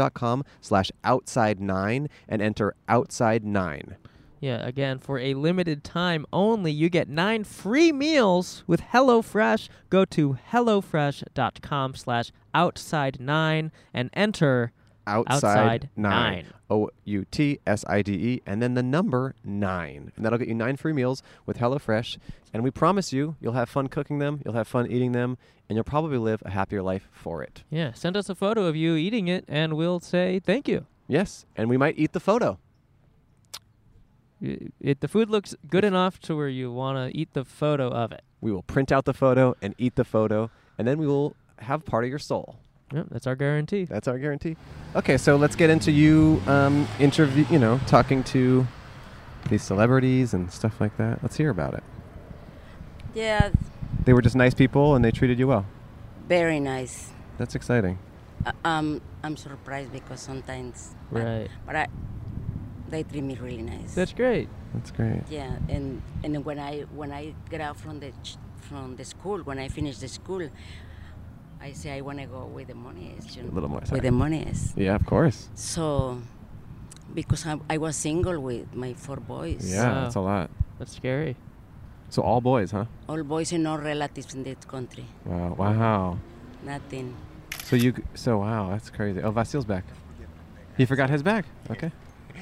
[SPEAKER 5] hellofresh.com/slash outside nine and enter outside nine.
[SPEAKER 4] Yeah, again, for a limited time only, you get nine free meals with HelloFresh. Go to HelloFresh.com slash outside nine and enter
[SPEAKER 5] outside,
[SPEAKER 4] Outside
[SPEAKER 5] nine.
[SPEAKER 4] nine.
[SPEAKER 5] O U T S I D E, and then the number nine. And that'll get you nine free meals with HelloFresh. And we promise you, you'll have fun cooking them, you'll have fun eating them, and you'll probably live a happier life for it.
[SPEAKER 4] Yeah, send us a photo of you eating it and we'll say thank you.
[SPEAKER 5] Yes, and we might eat the photo.
[SPEAKER 4] I- It, the food looks good enough to where you want to eat the photo of it.
[SPEAKER 5] We will print out the photo and eat the photo, and then we will have part of your soul.
[SPEAKER 4] Yep, that's our guarantee.
[SPEAKER 5] That's our guarantee. Okay, so let's get into you um, interview, you know, talking to these celebrities and stuff like that. Let's hear about it.
[SPEAKER 8] Yeah,
[SPEAKER 5] They were just nice people and they treated you well.
[SPEAKER 8] very nice.
[SPEAKER 5] That's exciting.
[SPEAKER 8] Uh, um, I'm surprised because sometimes.
[SPEAKER 4] Right.
[SPEAKER 8] But I, They treat me really nice.
[SPEAKER 4] That's great.
[SPEAKER 5] That's great.
[SPEAKER 8] Yeah, and and when I when I get out from the ch- from the school, when I finish the school, I say I want to go with the money. You know,
[SPEAKER 5] little more, sorry.
[SPEAKER 8] With the money is.
[SPEAKER 5] Yeah, of course.
[SPEAKER 8] So, because I, I was single with my four boys.
[SPEAKER 5] Yeah,
[SPEAKER 4] Wow.
[SPEAKER 5] that's a lot.
[SPEAKER 4] That's scary.
[SPEAKER 5] So all boys, huh?
[SPEAKER 8] All boys and no relatives in this country.
[SPEAKER 5] Wow. Wow.
[SPEAKER 8] Nothing.
[SPEAKER 5] So you. g- So wow, that's crazy. Oh, Vasil's back. He forgot his bag. Okay.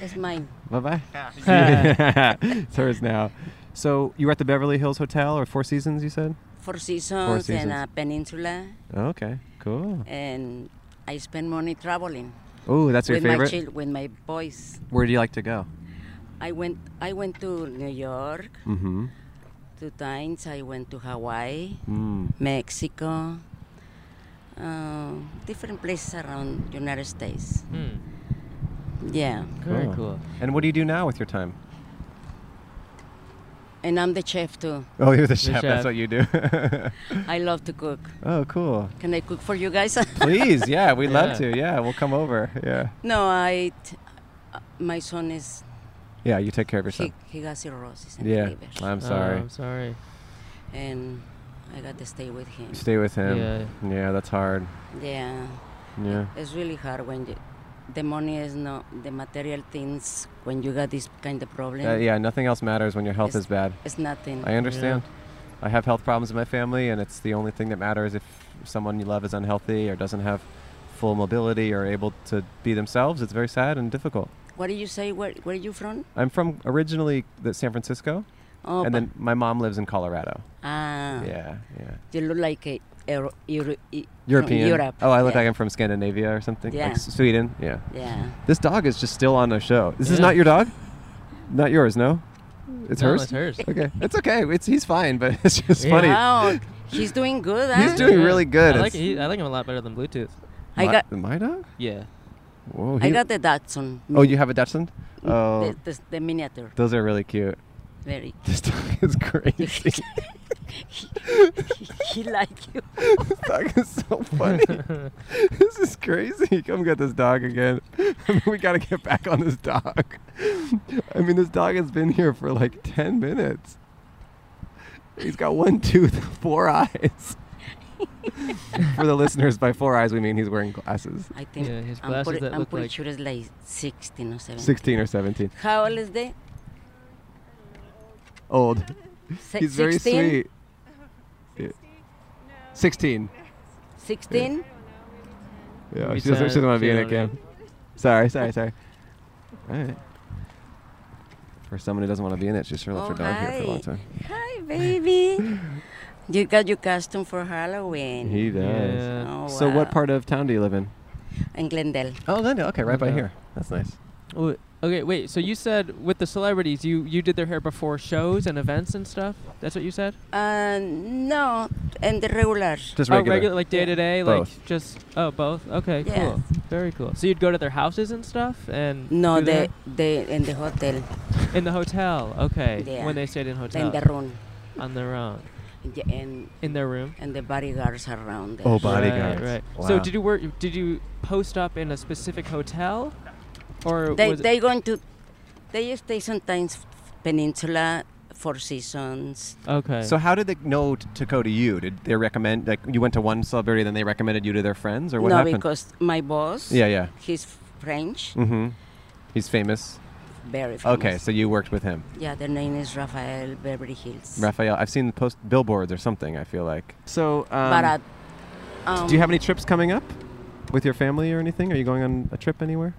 [SPEAKER 8] It's mine.
[SPEAKER 5] Bye bye. it's hers now. So you were at the Beverly Hills Hotel or Four Seasons, you said?
[SPEAKER 8] Four seasons, and
[SPEAKER 5] Seasons.
[SPEAKER 8] a peninsula,
[SPEAKER 5] Okay, cool.
[SPEAKER 8] and I spend money traveling
[SPEAKER 5] Oh, that's your
[SPEAKER 8] with my
[SPEAKER 5] favorite.
[SPEAKER 8] child, with my boys.
[SPEAKER 5] Where do you like to go?
[SPEAKER 8] I went I went to New York
[SPEAKER 5] Mm-hmm.
[SPEAKER 8] two times. I went to Hawaii,
[SPEAKER 5] Mm.
[SPEAKER 8] Mexico, uh, different places around United States.
[SPEAKER 4] Hmm.
[SPEAKER 8] Yeah,
[SPEAKER 4] Very
[SPEAKER 5] Oh,
[SPEAKER 4] cool.
[SPEAKER 5] And what do you do now with your time?
[SPEAKER 8] and I'm the chef too.
[SPEAKER 5] Oh, you're the
[SPEAKER 4] chef, that's chef. what
[SPEAKER 5] you do.
[SPEAKER 8] I love to cook.
[SPEAKER 5] oh, cool.
[SPEAKER 8] Can I cook for you guys?
[SPEAKER 5] Please, yeah, we'd love
[SPEAKER 4] Yeah.
[SPEAKER 5] to. Yeah, we'll come over. Yeah.
[SPEAKER 8] no, I. T- uh, my son is
[SPEAKER 5] Yeah, you take care of yourself.
[SPEAKER 8] he, he got cirrhosis and
[SPEAKER 5] yeah,
[SPEAKER 8] fever,
[SPEAKER 5] I'm
[SPEAKER 4] Oh,
[SPEAKER 5] sorry.
[SPEAKER 4] I'm sorry.
[SPEAKER 8] and I got to stay with him.
[SPEAKER 5] You Stay with him.
[SPEAKER 4] Yeah.
[SPEAKER 5] yeah, that's hard.
[SPEAKER 8] Yeah,
[SPEAKER 5] Yeah.
[SPEAKER 8] it's really hard when you, the money is not the material things. When you got this kind of problem,
[SPEAKER 5] Uh, yeah, nothing else matters when your health
[SPEAKER 8] It's-
[SPEAKER 5] is bad.
[SPEAKER 8] it's nothing.
[SPEAKER 5] I understand. I have health problems in my family, and it's the only thing that matters if someone you love is unhealthy or doesn't have full mobility or able to be themselves. It's very sad and difficult.
[SPEAKER 8] What do you say? Where Where are you from?
[SPEAKER 5] I'm from originally the San Francisco, and
[SPEAKER 8] Oh, but-
[SPEAKER 5] then my mom lives in Colorado.
[SPEAKER 8] ah,
[SPEAKER 5] Yeah, yeah.
[SPEAKER 8] you look like a Euro, Euro, E- from
[SPEAKER 5] European.
[SPEAKER 8] Europe.
[SPEAKER 5] Oh, I look
[SPEAKER 8] yeah.
[SPEAKER 5] like I'm from Scandinavia or something.
[SPEAKER 8] Yeah.
[SPEAKER 5] Like S- Sweden. Yeah.
[SPEAKER 8] Yeah,
[SPEAKER 5] This dog is just still on the show. This is
[SPEAKER 4] Yeah.
[SPEAKER 5] not your dog? Not yours, no? It's
[SPEAKER 4] No,
[SPEAKER 5] hers?
[SPEAKER 4] it's hers.
[SPEAKER 5] Okay. It's okay. It's he's fine, but it's just
[SPEAKER 4] Yeah.
[SPEAKER 5] funny.
[SPEAKER 8] wow, he's doing good. Huh?
[SPEAKER 5] He's doing
[SPEAKER 4] Yeah.
[SPEAKER 5] really good.
[SPEAKER 4] I like,
[SPEAKER 5] It's-
[SPEAKER 4] he, I like him a lot better than Bluetooth.
[SPEAKER 8] I
[SPEAKER 5] my,
[SPEAKER 8] got
[SPEAKER 5] my dog?
[SPEAKER 4] Yeah.
[SPEAKER 5] Whoa.
[SPEAKER 8] I
[SPEAKER 5] he-
[SPEAKER 8] got the Datsun.
[SPEAKER 5] Oh, you have a Dachshund?
[SPEAKER 8] Mm,
[SPEAKER 5] Oh.
[SPEAKER 8] the, the, the miniature.
[SPEAKER 5] Those are really cute.
[SPEAKER 8] Very.
[SPEAKER 5] This dog is crazy.
[SPEAKER 8] he, he, he like you.
[SPEAKER 5] this dog is so funny. this is crazy. Come get this dog again. we gotta get back on this dog. I mean, this dog has been here for like ten minutes. He's got one tooth, four eyes. for the listeners, by four eyes we mean he's wearing glasses.
[SPEAKER 8] I think
[SPEAKER 4] Yeah, his
[SPEAKER 8] I'm,
[SPEAKER 4] glasses
[SPEAKER 8] pretty,
[SPEAKER 4] that
[SPEAKER 8] I'm
[SPEAKER 4] look
[SPEAKER 8] pretty
[SPEAKER 4] like-
[SPEAKER 8] sure it's like 16 or 17.
[SPEAKER 5] Sixteen or seventeen.
[SPEAKER 8] How old is they?
[SPEAKER 5] Old.
[SPEAKER 8] Se-
[SPEAKER 5] He's very
[SPEAKER 8] 16?
[SPEAKER 5] sweet. Yeah. Sixteen.
[SPEAKER 8] 16?
[SPEAKER 5] Yeah,
[SPEAKER 4] Maybe
[SPEAKER 5] she doesn't, she
[SPEAKER 4] 10,
[SPEAKER 5] doesn't want
[SPEAKER 4] she
[SPEAKER 5] to be in it,
[SPEAKER 4] don't know.
[SPEAKER 5] Cam. Sorry, sorry, sorry. All right. For someone who doesn't want to be in it, she sure left her
[SPEAKER 8] Oh,
[SPEAKER 5] dog here for a long
[SPEAKER 8] hi.
[SPEAKER 5] time.
[SPEAKER 8] Hi, baby. you got your costume for Halloween.
[SPEAKER 5] He does.
[SPEAKER 4] Yeah.
[SPEAKER 8] Oh,
[SPEAKER 5] So,
[SPEAKER 8] wow.
[SPEAKER 5] what part of town do you live in?
[SPEAKER 8] In Glendale.
[SPEAKER 5] Oh, Glendale. Okay, right by
[SPEAKER 4] Glendale.
[SPEAKER 5] here. That's nice.
[SPEAKER 4] Oh, okay, wait. So you said with the celebrities, you you did their hair before shows and events and stuff. That's what you said.
[SPEAKER 8] Uh, no, and the regular.
[SPEAKER 5] Just
[SPEAKER 4] oh,
[SPEAKER 5] regular.
[SPEAKER 4] regular, like day to day, like
[SPEAKER 5] Both.
[SPEAKER 4] just oh both. Okay,
[SPEAKER 8] Yeah.
[SPEAKER 4] cool, very cool. So you'd go to their houses and stuff, and
[SPEAKER 8] No,
[SPEAKER 4] do their-
[SPEAKER 8] the, the in the hotel,
[SPEAKER 4] in the hotel. Okay,
[SPEAKER 8] Yeah.
[SPEAKER 4] when they stayed in
[SPEAKER 8] in
[SPEAKER 5] Ah.
[SPEAKER 4] hotel
[SPEAKER 8] the room,
[SPEAKER 4] on their own
[SPEAKER 8] Yeah, and
[SPEAKER 4] in their room.
[SPEAKER 8] and the bodyguards around. There.
[SPEAKER 5] Oh, bodyguards.
[SPEAKER 4] Right. right.
[SPEAKER 5] Wow.
[SPEAKER 4] So did you work? Did you post up in a specific hotel, or
[SPEAKER 8] They
[SPEAKER 4] was it-
[SPEAKER 8] they going to, they stay sometimes Peninsula, Four Seasons.
[SPEAKER 4] okay?
[SPEAKER 5] So, how did they know t- to go to you? Did they recommend, like, you went to one celebrity, then they recommended you to their friends, or what
[SPEAKER 8] no,
[SPEAKER 5] happened?
[SPEAKER 8] because my boss.
[SPEAKER 5] yeah, yeah.
[SPEAKER 8] He's French,
[SPEAKER 5] Mm hmm. He's famous.
[SPEAKER 8] very famous.
[SPEAKER 5] Okay, so you worked with him.
[SPEAKER 8] Yeah, the name is Rafael Beverly Hills.
[SPEAKER 5] Raphael, I've seen the post billboards or something, I feel like. So, um,
[SPEAKER 8] but at, um,
[SPEAKER 5] Do you have any trips coming up with your family or anything? Are you going on a trip anywhere?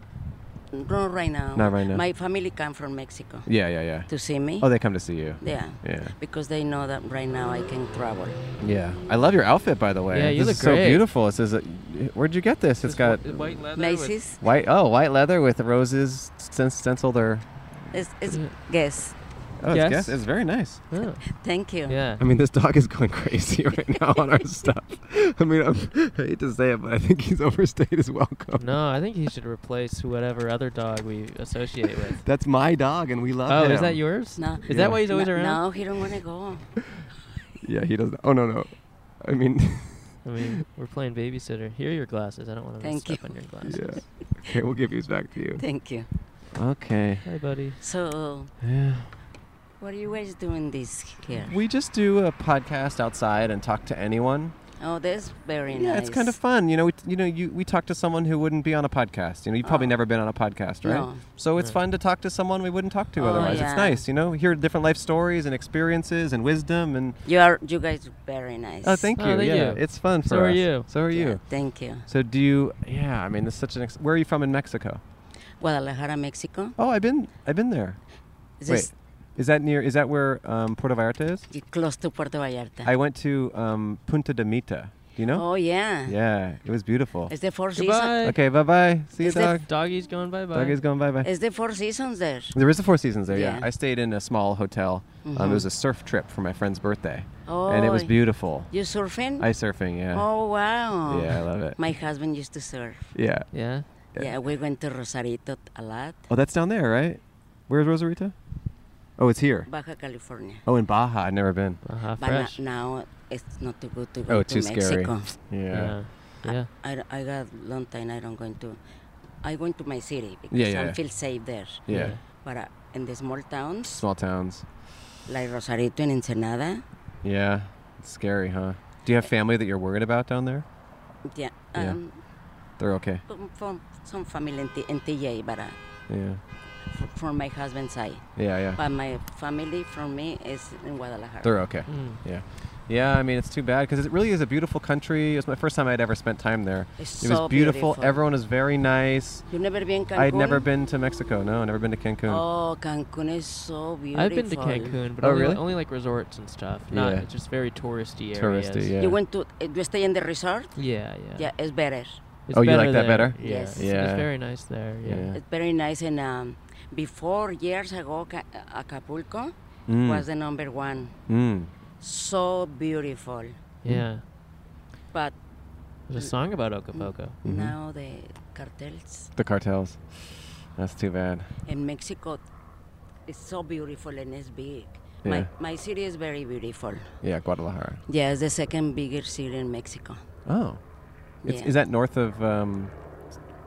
[SPEAKER 8] No, right now.
[SPEAKER 5] Not right now.
[SPEAKER 8] My family come from Mexico
[SPEAKER 5] Yeah, yeah, yeah.
[SPEAKER 8] to see me.
[SPEAKER 5] Oh, they come to see you.
[SPEAKER 8] yeah.
[SPEAKER 5] Yeah.
[SPEAKER 8] Because they know that right now I can travel.
[SPEAKER 5] Yeah. I love your outfit, by the way.
[SPEAKER 4] Yeah, you
[SPEAKER 5] this
[SPEAKER 4] look
[SPEAKER 5] is so
[SPEAKER 4] great.
[SPEAKER 5] beautiful. It says, uh, where'd you get this? It's
[SPEAKER 4] Just
[SPEAKER 5] got
[SPEAKER 4] whi- white leather. with-
[SPEAKER 8] Macy's,
[SPEAKER 5] white, oh, white leather with roses stencil stenciled or.
[SPEAKER 8] it's, it's guess.
[SPEAKER 5] Oh, it's,
[SPEAKER 4] Yes.
[SPEAKER 5] guess- it's very nice.
[SPEAKER 4] Oh,
[SPEAKER 8] Thank you.
[SPEAKER 4] yeah.
[SPEAKER 5] I mean, this dog is going crazy right now on our stuff. I mean, I'm, I hate to say it, but I think he's overstayed his welcome.
[SPEAKER 4] No, I think he should replace whatever other dog we associate with.
[SPEAKER 5] That's my dog, and we love
[SPEAKER 4] Oh,
[SPEAKER 5] him.
[SPEAKER 4] is that yours?
[SPEAKER 8] No.
[SPEAKER 4] Is that why he's always
[SPEAKER 8] no,
[SPEAKER 4] around?
[SPEAKER 8] No, he don't want to go.
[SPEAKER 5] Yeah, he doesn't. Oh, no, no. I mean,
[SPEAKER 4] I mean, we're playing babysitter. Here are your glasses. I don't want to
[SPEAKER 8] Thank
[SPEAKER 4] step
[SPEAKER 8] you.
[SPEAKER 4] on your glasses.
[SPEAKER 5] yeah. Okay, we'll give these back to you.
[SPEAKER 8] Thank you.
[SPEAKER 5] Okay.
[SPEAKER 4] Hey, buddy.
[SPEAKER 8] So,
[SPEAKER 5] Yeah.
[SPEAKER 8] what are you guys doing this here?
[SPEAKER 5] We just do a podcast outside and talk to anyone.
[SPEAKER 8] Oh, that's very nice.
[SPEAKER 5] yeah, it's kind of fun. You know, we, you know, you we talk to someone who wouldn't be on a podcast. You know, you've probably
[SPEAKER 8] Oh.
[SPEAKER 5] never been on a podcast, right?
[SPEAKER 8] No.
[SPEAKER 5] So it's fun to talk to someone we wouldn't talk to
[SPEAKER 8] Oh,
[SPEAKER 5] otherwise.
[SPEAKER 8] yeah.
[SPEAKER 5] It's nice, you know, hear different life stories and experiences and wisdom and
[SPEAKER 8] You are, you guys, are very nice.
[SPEAKER 5] oh, thank
[SPEAKER 4] Oh,
[SPEAKER 5] you.
[SPEAKER 4] thank
[SPEAKER 5] yeah,
[SPEAKER 4] you.
[SPEAKER 5] it's fun for
[SPEAKER 4] So are
[SPEAKER 5] us.
[SPEAKER 4] you.
[SPEAKER 5] So are
[SPEAKER 8] Yeah,
[SPEAKER 5] you.
[SPEAKER 8] Thank you.
[SPEAKER 5] So do you? Yeah, I mean, this is such an. Ex- Where are you from in Mexico?
[SPEAKER 8] Guadalajara, Mexico.
[SPEAKER 5] Oh, I've been, I've been there.
[SPEAKER 8] Is
[SPEAKER 5] Wait, is that near? Is that where um, Puerto Vallarta is?
[SPEAKER 8] this close to Puerto Vallarta?
[SPEAKER 5] I went to um, Punta de Mita. Do you know?
[SPEAKER 8] Oh yeah.
[SPEAKER 5] Yeah, it was beautiful.
[SPEAKER 8] It's the four seasons.
[SPEAKER 4] Goodbye.
[SPEAKER 5] Okay, bye bye. See you,
[SPEAKER 8] Is that-
[SPEAKER 5] dog.
[SPEAKER 4] Doggy's going bye bye.
[SPEAKER 5] Dog is going bye bye.
[SPEAKER 8] It's the four seasons there.
[SPEAKER 5] There is a Four Seasons there, yeah.
[SPEAKER 8] Yeah.
[SPEAKER 5] I stayed in a small hotel. Um,
[SPEAKER 8] Mhm.
[SPEAKER 5] it was a surf trip for my friend's birthday,
[SPEAKER 8] Oh.
[SPEAKER 5] and it was beautiful.
[SPEAKER 8] You surfing?
[SPEAKER 5] Ice surfing, yeah.
[SPEAKER 8] Oh wow.
[SPEAKER 5] Yeah, I love it.
[SPEAKER 8] My husband used to surf.
[SPEAKER 5] Yeah.
[SPEAKER 4] Yeah.
[SPEAKER 8] Yeah. we went to Rosarito a lot,
[SPEAKER 5] Oh, that's down there, right? Where's Rosarita? Oh, it's here.
[SPEAKER 8] Baja California.
[SPEAKER 5] Oh, in Baja, I've never been.
[SPEAKER 4] Uh-huh,
[SPEAKER 8] But na-
[SPEAKER 4] fresh.
[SPEAKER 8] now it's not too good to go
[SPEAKER 5] Oh,
[SPEAKER 8] to
[SPEAKER 5] too scary.
[SPEAKER 8] Mexico.
[SPEAKER 5] Yeah.
[SPEAKER 4] Yeah. Yeah.
[SPEAKER 8] I, I got long time. I don't going to. I went to my city because
[SPEAKER 5] Yeah, yeah,
[SPEAKER 8] I
[SPEAKER 5] yeah.
[SPEAKER 8] feel safe there.
[SPEAKER 5] Yeah.
[SPEAKER 4] Yeah.
[SPEAKER 8] But uh, in the small towns
[SPEAKER 5] Small towns.
[SPEAKER 8] like Rosarito and Ensenada,
[SPEAKER 5] Yeah. It's scary, huh? Do you have family that you're worried about down there?
[SPEAKER 8] yeah,
[SPEAKER 5] Yeah.
[SPEAKER 8] um,
[SPEAKER 5] They're okay.
[SPEAKER 8] from, from some family in, T- in TJ, but uh,
[SPEAKER 5] Yeah.
[SPEAKER 8] f- from my husband's side.
[SPEAKER 5] Yeah, yeah.
[SPEAKER 8] But my family from me is in Guadalajara.
[SPEAKER 5] They're okay.
[SPEAKER 4] Mm.
[SPEAKER 5] Yeah. Yeah, I mean, it's too bad because it really is a beautiful country. It was my first time I'd ever spent time there.
[SPEAKER 8] It's
[SPEAKER 5] it was
[SPEAKER 8] so
[SPEAKER 5] beautiful.
[SPEAKER 8] beautiful.
[SPEAKER 5] Everyone is very nice.
[SPEAKER 8] You never been Cancun?
[SPEAKER 5] I'd never been to Mexico. No, never been to Cancun.
[SPEAKER 8] Oh, Cancun is so beautiful.
[SPEAKER 4] I've been to Cancun, but
[SPEAKER 5] Oh,
[SPEAKER 4] only,
[SPEAKER 5] really?
[SPEAKER 4] only like resorts and stuff. Not
[SPEAKER 5] Yeah.
[SPEAKER 4] it's just very touristy areas.
[SPEAKER 5] Touristy, yeah.
[SPEAKER 8] You went to eh, you stay in the resort?
[SPEAKER 4] Yeah, yeah.
[SPEAKER 8] Yeah, it's better.
[SPEAKER 4] It's
[SPEAKER 5] Oh, you like
[SPEAKER 4] better
[SPEAKER 5] that
[SPEAKER 4] there.
[SPEAKER 5] better?
[SPEAKER 4] Yeah.
[SPEAKER 8] Yes.
[SPEAKER 4] It's,
[SPEAKER 5] Yeah.
[SPEAKER 4] it's very nice there. Yeah.
[SPEAKER 5] Yeah.
[SPEAKER 8] It's very nice. And um, before years ago, Ca- Acapulco
[SPEAKER 5] Mm.
[SPEAKER 8] was the number one.
[SPEAKER 5] Mm.
[SPEAKER 8] So beautiful,
[SPEAKER 4] Yeah.
[SPEAKER 8] but
[SPEAKER 4] There's a song about Acapulco.
[SPEAKER 5] Mm-hmm.
[SPEAKER 8] now the cartels
[SPEAKER 5] The cartels. That's too bad.
[SPEAKER 8] in Mexico is so beautiful and it's big.
[SPEAKER 5] Yeah.
[SPEAKER 8] My my city is very beautiful.
[SPEAKER 5] Yeah, Guadalajara.
[SPEAKER 8] Yeah, it's the second biggest city in Mexico.
[SPEAKER 5] Oh. It's,
[SPEAKER 8] Yeah.
[SPEAKER 5] Is that north of um,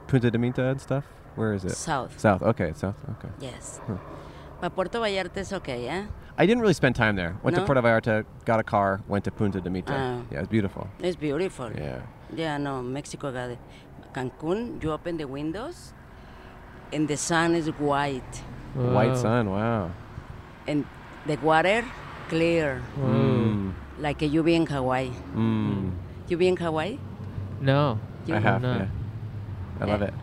[SPEAKER 5] Punta de Mita and stuff? Where is it?
[SPEAKER 8] South.
[SPEAKER 5] South. Okay, it's south. Okay.
[SPEAKER 8] Yes. But Puerto Vallarta is okay, eh? yeah.
[SPEAKER 5] I didn't really spend time there. Went to
[SPEAKER 8] No?
[SPEAKER 5] Puerto Vallarta, got a car, went to Punta de Mita.
[SPEAKER 8] Oh.
[SPEAKER 5] Yeah, it's beautiful.
[SPEAKER 8] It's beautiful.
[SPEAKER 5] Yeah.
[SPEAKER 8] Yeah, no, Mexico got it. Cancun, you open the windows and the sun is white
[SPEAKER 4] Whoa.
[SPEAKER 5] White sun. Wow.
[SPEAKER 8] and the water clear,
[SPEAKER 4] Whoa.
[SPEAKER 8] like you be in Hawaii.
[SPEAKER 5] Mm.
[SPEAKER 8] You be in Hawaii?
[SPEAKER 4] No.
[SPEAKER 8] You
[SPEAKER 5] I
[SPEAKER 8] have
[SPEAKER 5] have.
[SPEAKER 4] not.
[SPEAKER 5] Yeah. I love
[SPEAKER 8] Yeah.
[SPEAKER 5] it.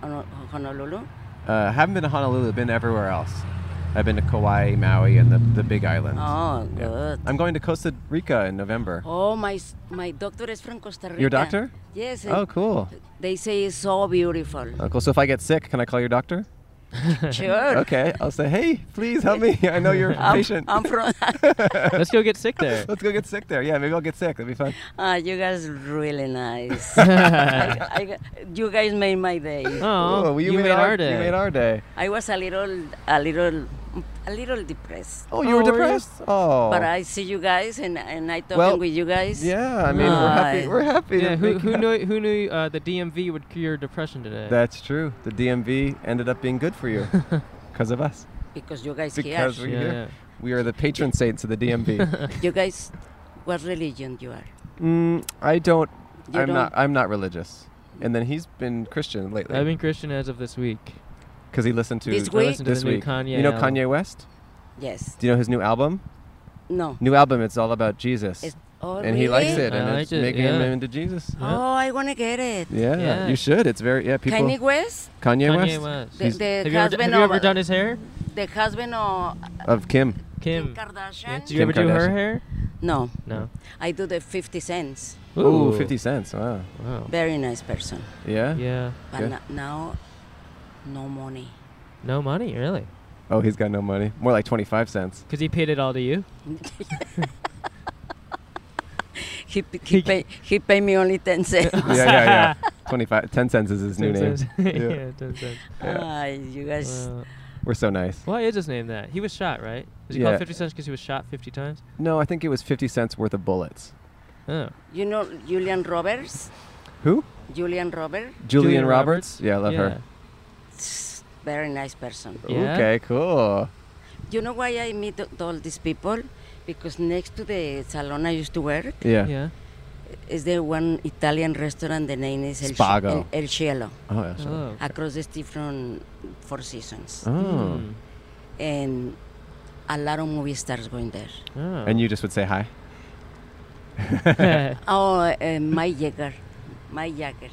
[SPEAKER 8] Hono- Honolulu?
[SPEAKER 5] Uh, haven't been to Honolulu. Been everywhere else. I've been to Kauai, Maui, and the, the Big Islands.
[SPEAKER 8] Oh,
[SPEAKER 5] Yeah.
[SPEAKER 8] good.
[SPEAKER 5] I'm going to Costa Rica in November.
[SPEAKER 8] Oh, my s- my doctor is from Costa Rica.
[SPEAKER 5] doctor?
[SPEAKER 8] Yes.
[SPEAKER 5] Oh,
[SPEAKER 8] and
[SPEAKER 5] cool.
[SPEAKER 8] They say it's so beautiful.
[SPEAKER 5] Oh, cool. So if I get sick, can I call your doctor?
[SPEAKER 8] Sure.
[SPEAKER 5] Okay. I'll say, hey, please help me. I know you're
[SPEAKER 8] I'm,
[SPEAKER 5] patient.
[SPEAKER 8] I'm from.
[SPEAKER 4] Let's go get sick there. Oh,
[SPEAKER 5] Let's go get sick there. Yeah, maybe I'll get sick. That'd be fun.
[SPEAKER 8] Ah, you guys really nice. I, I, you guys made my day.
[SPEAKER 4] Oh,
[SPEAKER 5] well,
[SPEAKER 4] you, made our day.
[SPEAKER 5] You made our day.
[SPEAKER 8] I was a little, a little, a little depressed.
[SPEAKER 5] Oh, you were
[SPEAKER 4] Oh, were you?
[SPEAKER 5] depressed? Oh.
[SPEAKER 8] But I see you guys and, and I talking
[SPEAKER 5] Well,
[SPEAKER 8] with you guys.
[SPEAKER 5] yeah, I mean, we're happy.
[SPEAKER 8] Nice.
[SPEAKER 5] We're happy. to
[SPEAKER 4] Yeah, who,
[SPEAKER 5] make
[SPEAKER 4] who
[SPEAKER 5] you-
[SPEAKER 4] knew who knew uh, the DMV would cure depression today?
[SPEAKER 5] That's true. The DMV ended up being good for you because of us.
[SPEAKER 8] Because you guys
[SPEAKER 5] Because
[SPEAKER 8] here.
[SPEAKER 5] we-
[SPEAKER 4] yeah,
[SPEAKER 5] here.
[SPEAKER 4] yeah.
[SPEAKER 5] We are the patron saints of the DMV.
[SPEAKER 8] You guys, what religion you are?
[SPEAKER 5] mm, I don't.
[SPEAKER 8] You
[SPEAKER 5] I'm
[SPEAKER 8] don't-
[SPEAKER 5] not. I'm not religious. And then he's been Christian lately.
[SPEAKER 4] I've been Christian as of this week.
[SPEAKER 5] because he listened to
[SPEAKER 8] This
[SPEAKER 4] I listened to
[SPEAKER 5] this
[SPEAKER 4] the new
[SPEAKER 5] week.
[SPEAKER 4] Kanye.
[SPEAKER 5] you know
[SPEAKER 4] album.
[SPEAKER 5] Kanye West?
[SPEAKER 8] Yes.
[SPEAKER 5] Do you know his new album?
[SPEAKER 8] No.
[SPEAKER 5] New album. It's all about Jesus,
[SPEAKER 8] It's, oh,
[SPEAKER 5] and he likes
[SPEAKER 8] really?
[SPEAKER 5] it,
[SPEAKER 4] I
[SPEAKER 5] and
[SPEAKER 4] liked
[SPEAKER 5] it's
[SPEAKER 4] it,
[SPEAKER 5] making him
[SPEAKER 4] yeah.
[SPEAKER 5] into Jesus.
[SPEAKER 8] Oh, I want to get it.
[SPEAKER 5] Yeah.
[SPEAKER 4] Yeah.
[SPEAKER 5] you should. It's very yeah. People
[SPEAKER 8] Kanye West,
[SPEAKER 5] Kanye,
[SPEAKER 4] Kanye
[SPEAKER 5] West
[SPEAKER 4] West.
[SPEAKER 8] The- the
[SPEAKER 4] have you, ever, d-
[SPEAKER 8] husband
[SPEAKER 4] have you
[SPEAKER 8] of-
[SPEAKER 4] ever done his hair?
[SPEAKER 8] the husband of
[SPEAKER 5] of Kim.
[SPEAKER 8] Kim
[SPEAKER 4] Kim.
[SPEAKER 8] Kardashian.
[SPEAKER 4] Did you
[SPEAKER 5] Kim
[SPEAKER 4] ever do her
[SPEAKER 5] Kardashian.
[SPEAKER 4] hair?
[SPEAKER 8] No,
[SPEAKER 4] No.
[SPEAKER 8] I do the 50 cents.
[SPEAKER 5] Ooh, 50 cents. Wow.
[SPEAKER 4] Wow.
[SPEAKER 8] Very nice person.
[SPEAKER 5] Yeah?
[SPEAKER 4] Yeah.
[SPEAKER 8] But
[SPEAKER 5] Good.
[SPEAKER 8] no- now, no money.
[SPEAKER 4] No money, really.
[SPEAKER 5] Oh, he's got no money. More like 25 cents.
[SPEAKER 4] Because he paid it all to you?
[SPEAKER 8] He, p- he, pay, he pay me only 10 cents.
[SPEAKER 5] yeah, yeah, yeah. 25 10 cents is his new name.
[SPEAKER 4] Ten cents.
[SPEAKER 5] Yeah.
[SPEAKER 4] yeah, Uh. ten cents.
[SPEAKER 8] Ay, you guys.
[SPEAKER 4] Wow.
[SPEAKER 5] We're so nice.
[SPEAKER 4] Why is his name that? He was shot, right? Is he
[SPEAKER 5] Yeah.
[SPEAKER 4] called 50 Cents because he was shot 50 times?
[SPEAKER 5] No, I think it was 50 cents worth of bullets.
[SPEAKER 4] Oh.
[SPEAKER 8] You know Julian Roberts?
[SPEAKER 5] Who?
[SPEAKER 8] Julian Roberts?
[SPEAKER 5] Julian, Roberts? Yeah, I love
[SPEAKER 4] yeah.
[SPEAKER 5] her.
[SPEAKER 8] very nice person.
[SPEAKER 4] Yeah.
[SPEAKER 5] Okay, cool.
[SPEAKER 8] You know why I meet th- all these people? Because next to the salon I used to work
[SPEAKER 5] Yeah.
[SPEAKER 4] Yeah.
[SPEAKER 8] is the one Italian restaurant. The name is El, Ci-
[SPEAKER 5] Spago.
[SPEAKER 8] El, El Cielo,
[SPEAKER 5] Oh, yeah. so-
[SPEAKER 4] Oh.
[SPEAKER 8] across the street from Four Seasons,
[SPEAKER 5] Oh.
[SPEAKER 4] Mm.
[SPEAKER 8] and a lot of movie stars going there.
[SPEAKER 4] Oh.
[SPEAKER 5] And you just would say hi.
[SPEAKER 8] Oh, uh, Mike Jagger, Mike Jagger.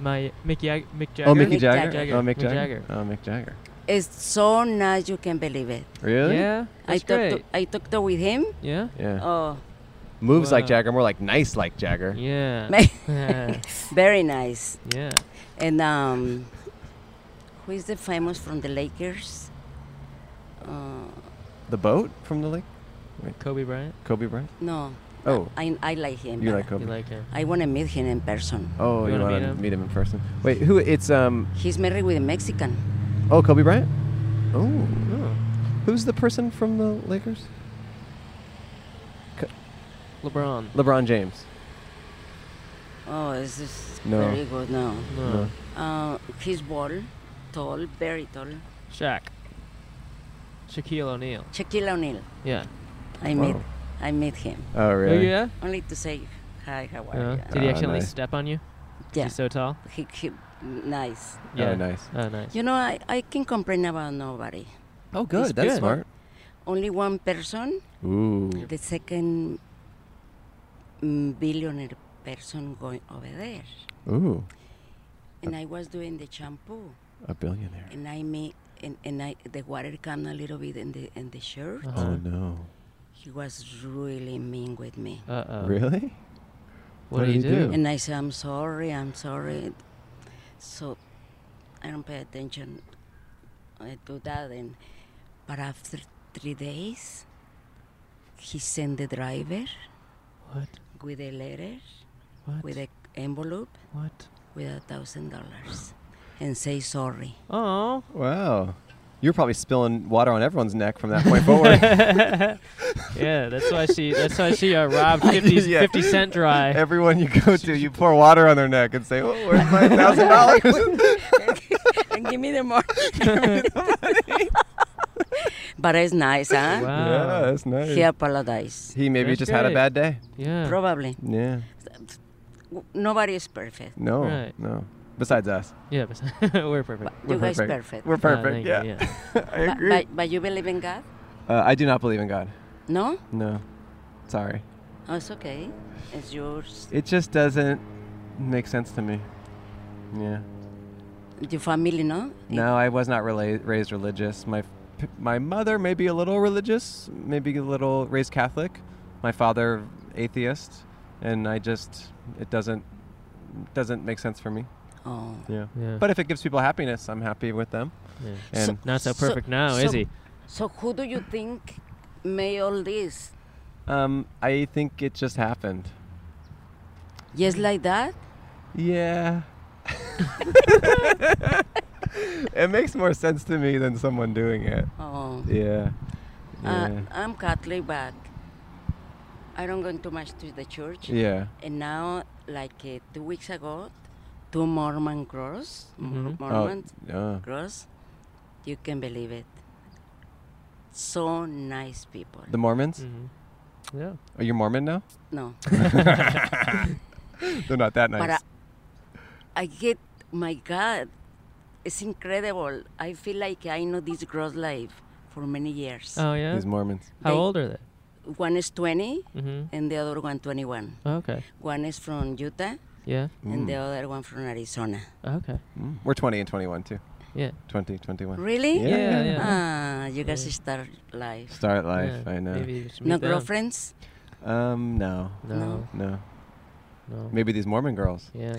[SPEAKER 4] my Mick, Jag- Mick Jagger.
[SPEAKER 5] Oh, Mickey
[SPEAKER 8] Mick
[SPEAKER 5] Jagger.
[SPEAKER 8] Jagger.
[SPEAKER 5] Oh, Mick
[SPEAKER 4] Mick
[SPEAKER 5] Jagger.
[SPEAKER 4] Jagger.
[SPEAKER 5] Oh, Mick Jagger.
[SPEAKER 8] It's so nice you can believe it.
[SPEAKER 5] Really?
[SPEAKER 4] Yeah.
[SPEAKER 8] I
[SPEAKER 4] That's
[SPEAKER 8] talked to,
[SPEAKER 4] great.
[SPEAKER 8] I talked to with him.
[SPEAKER 4] Yeah.
[SPEAKER 5] Yeah.
[SPEAKER 8] Oh,
[SPEAKER 5] Moves like
[SPEAKER 4] Wow.
[SPEAKER 5] Jagger, more like nice like Jagger.
[SPEAKER 4] Yeah.
[SPEAKER 8] Ma- very nice.
[SPEAKER 4] yeah.
[SPEAKER 8] And um, who is the famous from the Lakers? Uh,
[SPEAKER 5] The boat from the lake.
[SPEAKER 4] Kobe Bryant.
[SPEAKER 5] Kobe Bryant.
[SPEAKER 8] no,
[SPEAKER 5] Oh,
[SPEAKER 8] I, I like him.
[SPEAKER 5] you
[SPEAKER 8] but
[SPEAKER 5] like
[SPEAKER 4] You
[SPEAKER 5] Kobe?
[SPEAKER 4] like him?
[SPEAKER 8] I want to meet him in person.
[SPEAKER 5] oh,
[SPEAKER 4] You
[SPEAKER 5] you,
[SPEAKER 4] wanna
[SPEAKER 5] want
[SPEAKER 4] meet
[SPEAKER 5] to
[SPEAKER 4] him?
[SPEAKER 5] meet him in person? Wait, who? It's um.
[SPEAKER 8] He's married with a Mexican.
[SPEAKER 5] Oh, Kobe Bryant. Oh,
[SPEAKER 4] Oh.
[SPEAKER 5] who's the person from the Lakers?
[SPEAKER 4] LeBron.
[SPEAKER 5] LeBron James.
[SPEAKER 8] Oh, this is
[SPEAKER 5] No.
[SPEAKER 8] very good. No,
[SPEAKER 4] No.
[SPEAKER 5] No.
[SPEAKER 8] uh, he's bald, tall, very tall.
[SPEAKER 4] Shaq. Shaquille O'Neal.
[SPEAKER 8] Shaquille O'Neal.
[SPEAKER 4] Yeah.
[SPEAKER 8] I met,
[SPEAKER 5] Wow.
[SPEAKER 8] I met him
[SPEAKER 5] Oh,
[SPEAKER 4] Oh,
[SPEAKER 5] really?
[SPEAKER 4] yeah?
[SPEAKER 8] only to say hi. How are
[SPEAKER 4] Yeah.
[SPEAKER 8] you?
[SPEAKER 4] Did he
[SPEAKER 5] Ah,
[SPEAKER 4] accidentally
[SPEAKER 5] nice.
[SPEAKER 4] step on you?
[SPEAKER 8] Yeah,
[SPEAKER 4] He's so tall.
[SPEAKER 8] he, he, nice.
[SPEAKER 5] Oh, nice.
[SPEAKER 4] Oh, nice.
[SPEAKER 8] You know, I, I can complain about nobody.
[SPEAKER 5] Oh,
[SPEAKER 4] good, that's good. smart.
[SPEAKER 8] Only one person,
[SPEAKER 5] Ooh.
[SPEAKER 8] the second mm, billionaire person going over there.
[SPEAKER 5] Ooh.
[SPEAKER 8] And I was doing the shampoo,
[SPEAKER 5] A billionaire.
[SPEAKER 8] and I me and, and I the water came a little bit in the in the shirt.
[SPEAKER 4] Uh-huh.
[SPEAKER 5] Oh no.
[SPEAKER 8] He was really mean with me,
[SPEAKER 4] Uh oh.
[SPEAKER 5] really?
[SPEAKER 4] What, do you do?
[SPEAKER 8] and I said, "I'm sorry, I'm sorry." So I don't pay attention I do that, and but after three days, he sent the driver
[SPEAKER 4] What?
[SPEAKER 8] with a letter,
[SPEAKER 4] What?
[SPEAKER 8] with a envelope,
[SPEAKER 4] What?
[SPEAKER 8] with a thousand dollars, and say sorry.
[SPEAKER 4] Oh.
[SPEAKER 5] Wow. You're probably spilling water on everyone's neck from that point forward.
[SPEAKER 4] yeah, that's why she. That's why she uh, robbed 50,
[SPEAKER 5] Yeah.
[SPEAKER 4] 50 cent dry.
[SPEAKER 5] Everyone you go to, you pour water on their neck and say, "Oh, where's my thousand dollars?"
[SPEAKER 8] and give me the money. but it's nice, huh?
[SPEAKER 5] Yeah,
[SPEAKER 4] Wow.
[SPEAKER 5] that's nice.
[SPEAKER 8] He apologized.
[SPEAKER 5] He maybe
[SPEAKER 4] That's
[SPEAKER 5] just had a
[SPEAKER 4] great.
[SPEAKER 5] bad day.
[SPEAKER 4] Yeah.
[SPEAKER 8] Probably.
[SPEAKER 5] Yeah.
[SPEAKER 8] W- Nobody is perfect.
[SPEAKER 5] No.
[SPEAKER 4] Right.
[SPEAKER 5] No. Besides us,
[SPEAKER 4] Yeah, but we're perfect.
[SPEAKER 8] But you guys perfect.
[SPEAKER 5] We're
[SPEAKER 4] Ah,
[SPEAKER 5] perfect.
[SPEAKER 4] thank you,
[SPEAKER 5] yeah. I
[SPEAKER 8] But,
[SPEAKER 5] agree.
[SPEAKER 8] but, but you believe in God?
[SPEAKER 5] Uh, I do not believe in God.
[SPEAKER 8] No?
[SPEAKER 5] No. Sorry.
[SPEAKER 8] Oh, it's okay. It's yours.
[SPEAKER 5] It just doesn't make sense to me. Yeah.
[SPEAKER 8] Your family, no?
[SPEAKER 5] No, I was not rela- raised religious. My p- my mother may be a little religious, maybe a little raised Catholic. My father atheist, and I just it doesn't doesn't make sense for me.
[SPEAKER 8] Oh.
[SPEAKER 5] Yeah.
[SPEAKER 4] Yeah.
[SPEAKER 5] But if it gives people happiness, I'm happy with them.
[SPEAKER 4] Yeah.
[SPEAKER 5] And
[SPEAKER 4] Not so
[SPEAKER 8] So-
[SPEAKER 4] perfect now, is
[SPEAKER 8] so-
[SPEAKER 4] he?
[SPEAKER 8] So who do you think made all this?
[SPEAKER 5] um, I think it just happened.
[SPEAKER 8] Just like that?
[SPEAKER 5] Yeah. it makes more sense to me than someone doing it.
[SPEAKER 8] Oh.
[SPEAKER 5] Yeah.
[SPEAKER 8] Uh,
[SPEAKER 5] Yeah.
[SPEAKER 8] I'm Catholic, but I don't go too much to the church.
[SPEAKER 5] yeah.
[SPEAKER 8] And now, like uh, two weeks ago, two Mormon cross, Mor-
[SPEAKER 4] Mhm.
[SPEAKER 8] Mormon
[SPEAKER 5] Oh, uh,
[SPEAKER 8] cross, you can believe it. So nice people.
[SPEAKER 5] the Mormons?
[SPEAKER 4] hmm Yeah.
[SPEAKER 5] Are you Mormon now?
[SPEAKER 8] no,
[SPEAKER 5] They're not that nice.
[SPEAKER 4] uh,
[SPEAKER 8] but I, I get, my God, it's incredible. I feel like I know this cross life for many years.
[SPEAKER 4] Oh yeah.
[SPEAKER 5] These Mormons.
[SPEAKER 4] How
[SPEAKER 8] They-
[SPEAKER 4] old are they?
[SPEAKER 8] One is 20
[SPEAKER 4] Mm-hmm. Oh,
[SPEAKER 8] and the other one 21.
[SPEAKER 4] Okay.
[SPEAKER 8] One is from Utah
[SPEAKER 4] Yeah.
[SPEAKER 8] and the other one from Arizona.
[SPEAKER 4] Okay.
[SPEAKER 5] Mm. We're 20 and 21 too.
[SPEAKER 4] Yeah.
[SPEAKER 5] 20, 21.
[SPEAKER 8] Really?
[SPEAKER 5] Ah. Yeah.
[SPEAKER 4] Yeah. Yeah.
[SPEAKER 8] Ah, you guys
[SPEAKER 4] Yeah.
[SPEAKER 8] start life.
[SPEAKER 5] Start life.
[SPEAKER 4] Yeah,
[SPEAKER 5] I know.
[SPEAKER 4] Maybe you should
[SPEAKER 8] No
[SPEAKER 4] meet them.
[SPEAKER 8] girlfriends?
[SPEAKER 5] Um, no,
[SPEAKER 4] No.
[SPEAKER 5] no.
[SPEAKER 4] No.
[SPEAKER 5] Maybe these Mormon girls.
[SPEAKER 4] Yeah.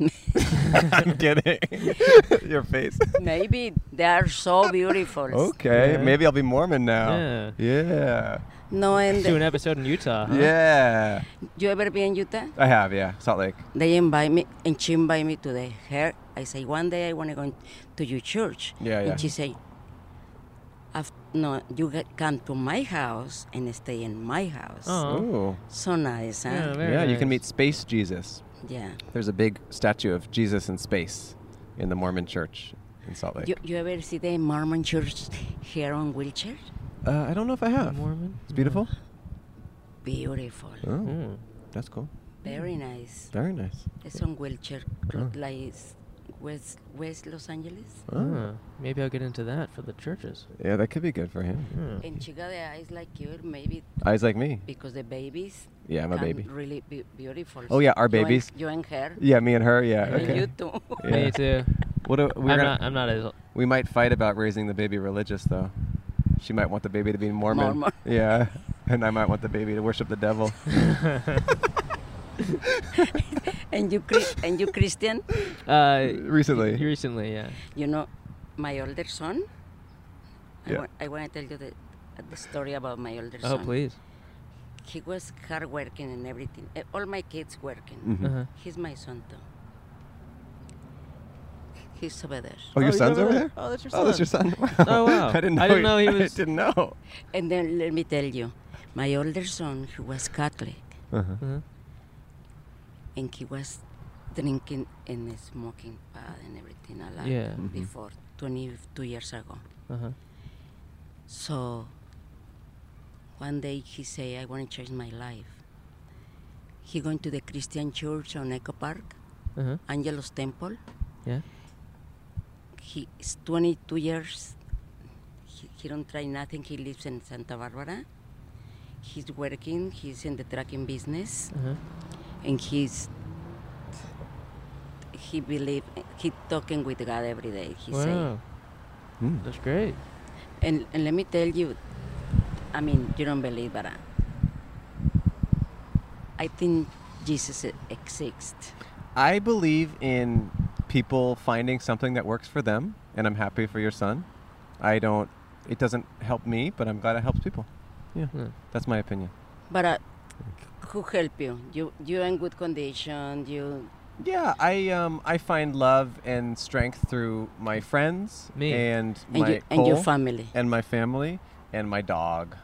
[SPEAKER 5] I'm kidding. Your face.
[SPEAKER 8] Maybe they are so beautiful.
[SPEAKER 5] Okay.
[SPEAKER 4] Yeah.
[SPEAKER 5] Maybe I'll be Mormon now.
[SPEAKER 4] Yeah. Uh-huh.
[SPEAKER 5] Yeah.
[SPEAKER 8] No, and
[SPEAKER 4] Do an episode in Utah. Huh?
[SPEAKER 5] Yeah.
[SPEAKER 8] you ever been in Utah?
[SPEAKER 5] I have. Yeah. Salt Lake.
[SPEAKER 8] They invite me, and she invite me to the her. I say one day I want to go to your church.
[SPEAKER 5] Yeah,
[SPEAKER 8] and
[SPEAKER 5] yeah.
[SPEAKER 8] she say, "Af- "No, you get, come to my house and stay in my house."
[SPEAKER 4] Oh.
[SPEAKER 5] Ooh.
[SPEAKER 8] So nice, huh?
[SPEAKER 4] very
[SPEAKER 5] yeah. You can meet
[SPEAKER 4] nice.
[SPEAKER 5] space Jesus.
[SPEAKER 8] Yeah.
[SPEAKER 5] There's a big statue of Jesus in space in the Mormon church. in Salt Lake.
[SPEAKER 8] You, you ever see the Mormon church here on wheelchair?
[SPEAKER 5] Uh, I don't know if I have.
[SPEAKER 4] Mormon?
[SPEAKER 5] It's beautiful.
[SPEAKER 8] Beautiful.
[SPEAKER 5] Oh,
[SPEAKER 4] Mm.
[SPEAKER 5] that's cool.
[SPEAKER 8] Very nice.
[SPEAKER 5] Very nice.
[SPEAKER 8] It's on wheelchair, close like West, West Los Angeles.
[SPEAKER 5] Oh.
[SPEAKER 4] Huh. Hmm. Maybe I'll get into that for the churches.
[SPEAKER 5] Yeah, that could be good for him.
[SPEAKER 4] Hmm.
[SPEAKER 8] In Chicago, it's like you, maybe
[SPEAKER 5] Eyes like me.
[SPEAKER 8] because the babies.
[SPEAKER 5] Yeah, I'm a
[SPEAKER 8] come
[SPEAKER 5] baby.
[SPEAKER 8] Really be- beautiful.
[SPEAKER 5] Oh, yeah, our
[SPEAKER 8] You and-
[SPEAKER 5] babies.
[SPEAKER 8] You and her.
[SPEAKER 5] Yeah, me and her. Yeah.
[SPEAKER 8] And
[SPEAKER 5] Okay.
[SPEAKER 8] you too.
[SPEAKER 5] Yeah.
[SPEAKER 4] Me too.
[SPEAKER 5] What do, we're
[SPEAKER 4] I'm
[SPEAKER 5] gonna,
[SPEAKER 4] not. I'm not as.
[SPEAKER 5] we might fight about raising the baby religious though. She might want the baby to be Mormon.
[SPEAKER 8] Mormon.
[SPEAKER 5] Yeah, and I might want the baby to worship the devil.
[SPEAKER 8] and you, Chris, and you, Christian.
[SPEAKER 4] Uh,
[SPEAKER 5] Recently.
[SPEAKER 4] Recently, yeah.
[SPEAKER 8] You know, my older son.
[SPEAKER 5] Yeah.
[SPEAKER 8] I, wa- I want to tell you the, the story about my older
[SPEAKER 4] Oh,
[SPEAKER 8] son.
[SPEAKER 4] please.
[SPEAKER 8] He was hard working and everything. Eh, All my kids working.
[SPEAKER 5] Mhm.
[SPEAKER 4] Uh-huh.
[SPEAKER 8] He's my son too. He's over there.
[SPEAKER 5] Oh, your
[SPEAKER 4] he's
[SPEAKER 5] son's over there?
[SPEAKER 4] Oh, that's your son.
[SPEAKER 5] Oh, that's your son. Wow.
[SPEAKER 4] Oh, wow.
[SPEAKER 5] I didn't know.
[SPEAKER 4] I didn't know he
[SPEAKER 5] I
[SPEAKER 4] was-
[SPEAKER 5] didn't know.
[SPEAKER 8] And then let me tell you, my older son, he was Catholic
[SPEAKER 5] Uh-huh.
[SPEAKER 4] Uh-huh.
[SPEAKER 8] and he was drinking and smoking pot and everything a lot
[SPEAKER 4] Yeah.
[SPEAKER 5] Mhm.
[SPEAKER 8] before 22 years ago.
[SPEAKER 4] Uh-huh.
[SPEAKER 8] So one day he say, I want to change my life. He going to the Christian church on Echo Park,
[SPEAKER 4] Uh-huh.
[SPEAKER 8] Angelos Temple.
[SPEAKER 4] Yeah.
[SPEAKER 8] He is 22 years. He, he don't try nothing. He lives in Santa Barbara. He's working. He's in the trucking business,
[SPEAKER 4] Uh-huh.
[SPEAKER 8] and he's he believe he talking with God every day. He say,
[SPEAKER 4] Wow.
[SPEAKER 5] Mm.
[SPEAKER 4] That's great.
[SPEAKER 8] and, and let me tell you, I mean, you don't believe, but I, I think Jesus e, exists.
[SPEAKER 5] I believe in people finding something that works for them, and I'm happy for your son. I don't. It doesn't help me, but I'm glad it helps people. Yeah,
[SPEAKER 4] Hmm.
[SPEAKER 5] that's my opinion.
[SPEAKER 8] But uh, who help you? You you in good condition. You
[SPEAKER 5] Yeah, I um I find love and strength through my friends
[SPEAKER 4] Me.
[SPEAKER 5] and
[SPEAKER 8] and,
[SPEAKER 5] my
[SPEAKER 8] you, and your
[SPEAKER 5] Cole
[SPEAKER 8] family.
[SPEAKER 5] and my family and my dog.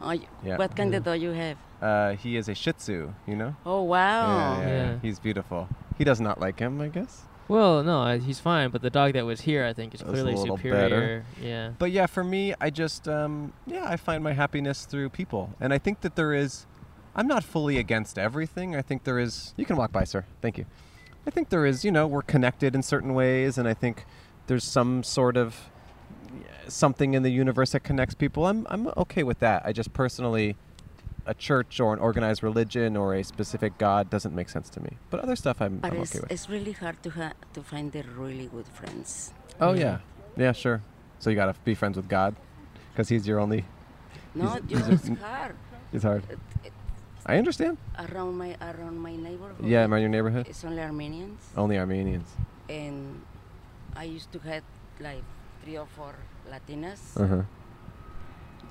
[SPEAKER 8] Oh, y-
[SPEAKER 5] Yeah.
[SPEAKER 8] What kind of dog you have?
[SPEAKER 5] Uh, he is a Shih Tzu. You know.
[SPEAKER 8] Oh wow!
[SPEAKER 5] Yeah, yeah, yeah.
[SPEAKER 4] Yeah.
[SPEAKER 5] He's beautiful. He does not like him, I guess.
[SPEAKER 4] Well, no, I, he's fine, but the dog that was here, I think, is
[SPEAKER 5] That's a
[SPEAKER 4] clearly
[SPEAKER 5] little
[SPEAKER 4] superior. Yeah.
[SPEAKER 5] But yeah, for me, I just um, yeah, I find my happiness through people, and I think that there is. I'm not fully against everything. I think there is. You can walk by, sir. Thank you. I think there is. You know, we're connected in certain ways, and I think there's some sort of yeah, something in the universe that connects people. I'm I'm okay with that. I just personally, a church or an organized religion or a specific god doesn't make sense to me. But other stuff, I'm,
[SPEAKER 8] But
[SPEAKER 5] I'm
[SPEAKER 8] it's,
[SPEAKER 5] okay with.
[SPEAKER 8] it's really hard to ha- to find the really good friends.
[SPEAKER 5] Oh yeah, yeah, sure. So you gotta be friends with God, because he's your only.
[SPEAKER 8] No,
[SPEAKER 5] Is-
[SPEAKER 8] you
[SPEAKER 5] is it-
[SPEAKER 8] it's hard.
[SPEAKER 5] It's hard.
[SPEAKER 8] It, it,
[SPEAKER 5] I understand.
[SPEAKER 8] around my around my neighborhood.
[SPEAKER 5] Yeah, Oh. around your neighborhood.
[SPEAKER 8] It's only Armenians,
[SPEAKER 5] Only Armenians.
[SPEAKER 8] and I used to have like three or four Latinas,
[SPEAKER 5] Uh huh.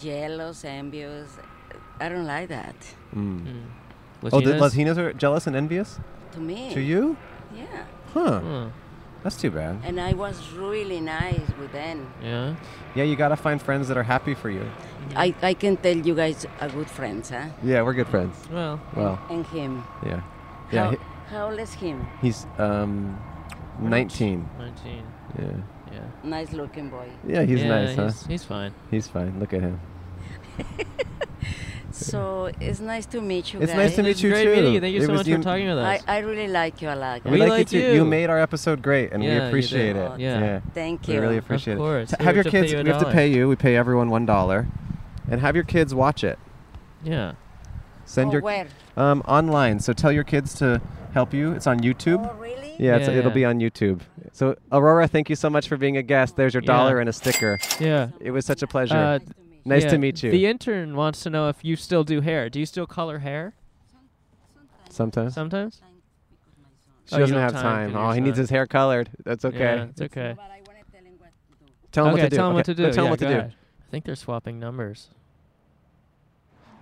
[SPEAKER 8] jealous, envious. I don't like that.
[SPEAKER 5] Mm.
[SPEAKER 4] Mm.
[SPEAKER 5] Oh, the
[SPEAKER 4] Latinas?
[SPEAKER 5] Latinos are jealous and envious
[SPEAKER 8] To me.
[SPEAKER 5] to you?
[SPEAKER 8] Yeah.
[SPEAKER 5] Huh.
[SPEAKER 4] Huh.
[SPEAKER 5] That's too bad.
[SPEAKER 8] And I was really nice with them.
[SPEAKER 4] Yeah.
[SPEAKER 5] Yeah, you gotta find friends that are happy for you.
[SPEAKER 8] I, I can tell you guys are good friends, huh?
[SPEAKER 5] Yeah, we're good friends.
[SPEAKER 4] Well.
[SPEAKER 5] Well,
[SPEAKER 8] And him.
[SPEAKER 5] yeah, yeah.
[SPEAKER 8] How,
[SPEAKER 5] he-
[SPEAKER 8] how old is him?
[SPEAKER 5] he's um,
[SPEAKER 4] we're not-
[SPEAKER 5] 19.
[SPEAKER 4] Nineteen.
[SPEAKER 5] Yeah.
[SPEAKER 4] Yeah.
[SPEAKER 8] Nice looking boy.
[SPEAKER 5] Yeah, he's
[SPEAKER 4] Yeah,
[SPEAKER 5] nice, huh?
[SPEAKER 4] He's, he's fine.
[SPEAKER 5] He's fine. Look at him.
[SPEAKER 8] So it's nice to meet you
[SPEAKER 5] It's nice
[SPEAKER 8] guys.
[SPEAKER 5] to
[SPEAKER 4] It
[SPEAKER 5] meet
[SPEAKER 4] was
[SPEAKER 5] you
[SPEAKER 4] great
[SPEAKER 5] too.
[SPEAKER 4] Meeting you. Thank you
[SPEAKER 5] It
[SPEAKER 4] so
[SPEAKER 5] was
[SPEAKER 4] much
[SPEAKER 5] you-
[SPEAKER 4] for talking with
[SPEAKER 8] I,
[SPEAKER 4] us.
[SPEAKER 8] I really like you a lot.
[SPEAKER 4] We
[SPEAKER 5] like
[SPEAKER 4] liked
[SPEAKER 5] you too.
[SPEAKER 4] you.
[SPEAKER 5] made our episode great, and
[SPEAKER 4] Yeah, you
[SPEAKER 5] we
[SPEAKER 4] did.
[SPEAKER 5] appreciate it.
[SPEAKER 8] Oh,
[SPEAKER 4] Yeah.
[SPEAKER 8] Thank
[SPEAKER 5] We
[SPEAKER 8] you.
[SPEAKER 5] really appreciate
[SPEAKER 4] course.
[SPEAKER 5] it.
[SPEAKER 4] We
[SPEAKER 5] T-
[SPEAKER 4] have
[SPEAKER 5] have your
[SPEAKER 4] to pay
[SPEAKER 5] kids.
[SPEAKER 4] you a
[SPEAKER 5] we have to
[SPEAKER 4] dollar.
[SPEAKER 5] pay you. We pay everyone one dollar, and have your kids watch it.
[SPEAKER 4] yeah.
[SPEAKER 5] Send
[SPEAKER 8] oh,
[SPEAKER 5] your
[SPEAKER 8] where?
[SPEAKER 5] um online. So tell your kids to help you. It's on YouTube.
[SPEAKER 8] Oh, really?
[SPEAKER 5] Yeah, it's,
[SPEAKER 4] Yeah,
[SPEAKER 5] it'll
[SPEAKER 4] yeah.
[SPEAKER 5] be on YouTube. So Aurora, thank you so much for being a guest. There's your
[SPEAKER 4] Yeah.
[SPEAKER 5] dollar and a sticker.
[SPEAKER 4] Yeah.
[SPEAKER 5] It was such a pleasure.
[SPEAKER 4] Uh,
[SPEAKER 8] Nice to meet you.
[SPEAKER 5] nice
[SPEAKER 4] Yeah.
[SPEAKER 5] to meet you.
[SPEAKER 4] The intern wants to know if you still do hair. Do you still color hair
[SPEAKER 5] Sometimes
[SPEAKER 4] sometimes?
[SPEAKER 5] she
[SPEAKER 4] Oh, you
[SPEAKER 5] doesn't
[SPEAKER 4] don't
[SPEAKER 5] have
[SPEAKER 4] time
[SPEAKER 5] time.
[SPEAKER 4] for
[SPEAKER 5] Oh,
[SPEAKER 4] your
[SPEAKER 5] he needs
[SPEAKER 4] son.
[SPEAKER 5] his hair colored. That's okay.
[SPEAKER 4] Yeah, it's okay.
[SPEAKER 8] But I want to tell him what to
[SPEAKER 4] okay, Tell
[SPEAKER 5] Tell him what to do.
[SPEAKER 8] do.
[SPEAKER 4] him what to do.
[SPEAKER 5] Okay, no,
[SPEAKER 4] yeah,
[SPEAKER 5] Tell him what to
[SPEAKER 4] go
[SPEAKER 5] do.
[SPEAKER 4] ahead. I think they're swapping numbers.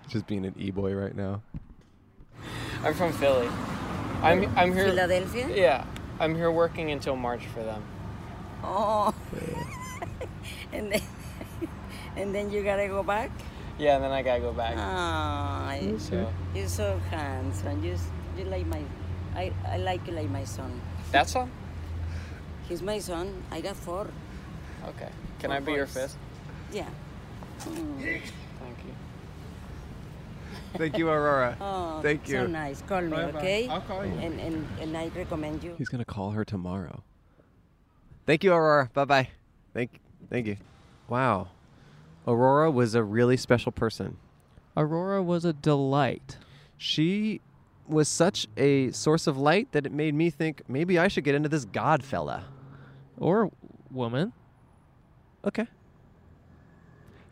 [SPEAKER 5] Just being an e-boy right now.
[SPEAKER 10] I'm from Philly. I'm I'm here.
[SPEAKER 8] Philadelphia?
[SPEAKER 10] Yeah, I'm here working until March for them.
[SPEAKER 8] Oh. and then and then you gotta go back.
[SPEAKER 10] Yeah, and then I gotta go back.
[SPEAKER 8] Ah, you-
[SPEAKER 10] So
[SPEAKER 8] you're so handsome. You s- you like my, I I like you like my son.
[SPEAKER 10] that's all.
[SPEAKER 8] He's my son. I got four.
[SPEAKER 11] Okay. Can I be your fifth?
[SPEAKER 8] Yeah. Mm.
[SPEAKER 11] Thank you.
[SPEAKER 6] Thank you, Aurora.
[SPEAKER 8] Oh,
[SPEAKER 6] Thank you.
[SPEAKER 8] So nice. Call me,
[SPEAKER 12] Bye-bye.
[SPEAKER 8] okay?
[SPEAKER 12] I'll call you.
[SPEAKER 8] And, and and I recommend you.
[SPEAKER 5] He's gonna call her tomorrow.
[SPEAKER 6] Thank you, Aurora. Bye bye.
[SPEAKER 5] Thank, thank you. Wow, Aurora was a really special person.
[SPEAKER 13] Aurora was a delight.
[SPEAKER 5] She was such a source of light that it made me think maybe I should get into this God fella.
[SPEAKER 13] Or woman.
[SPEAKER 5] Okay.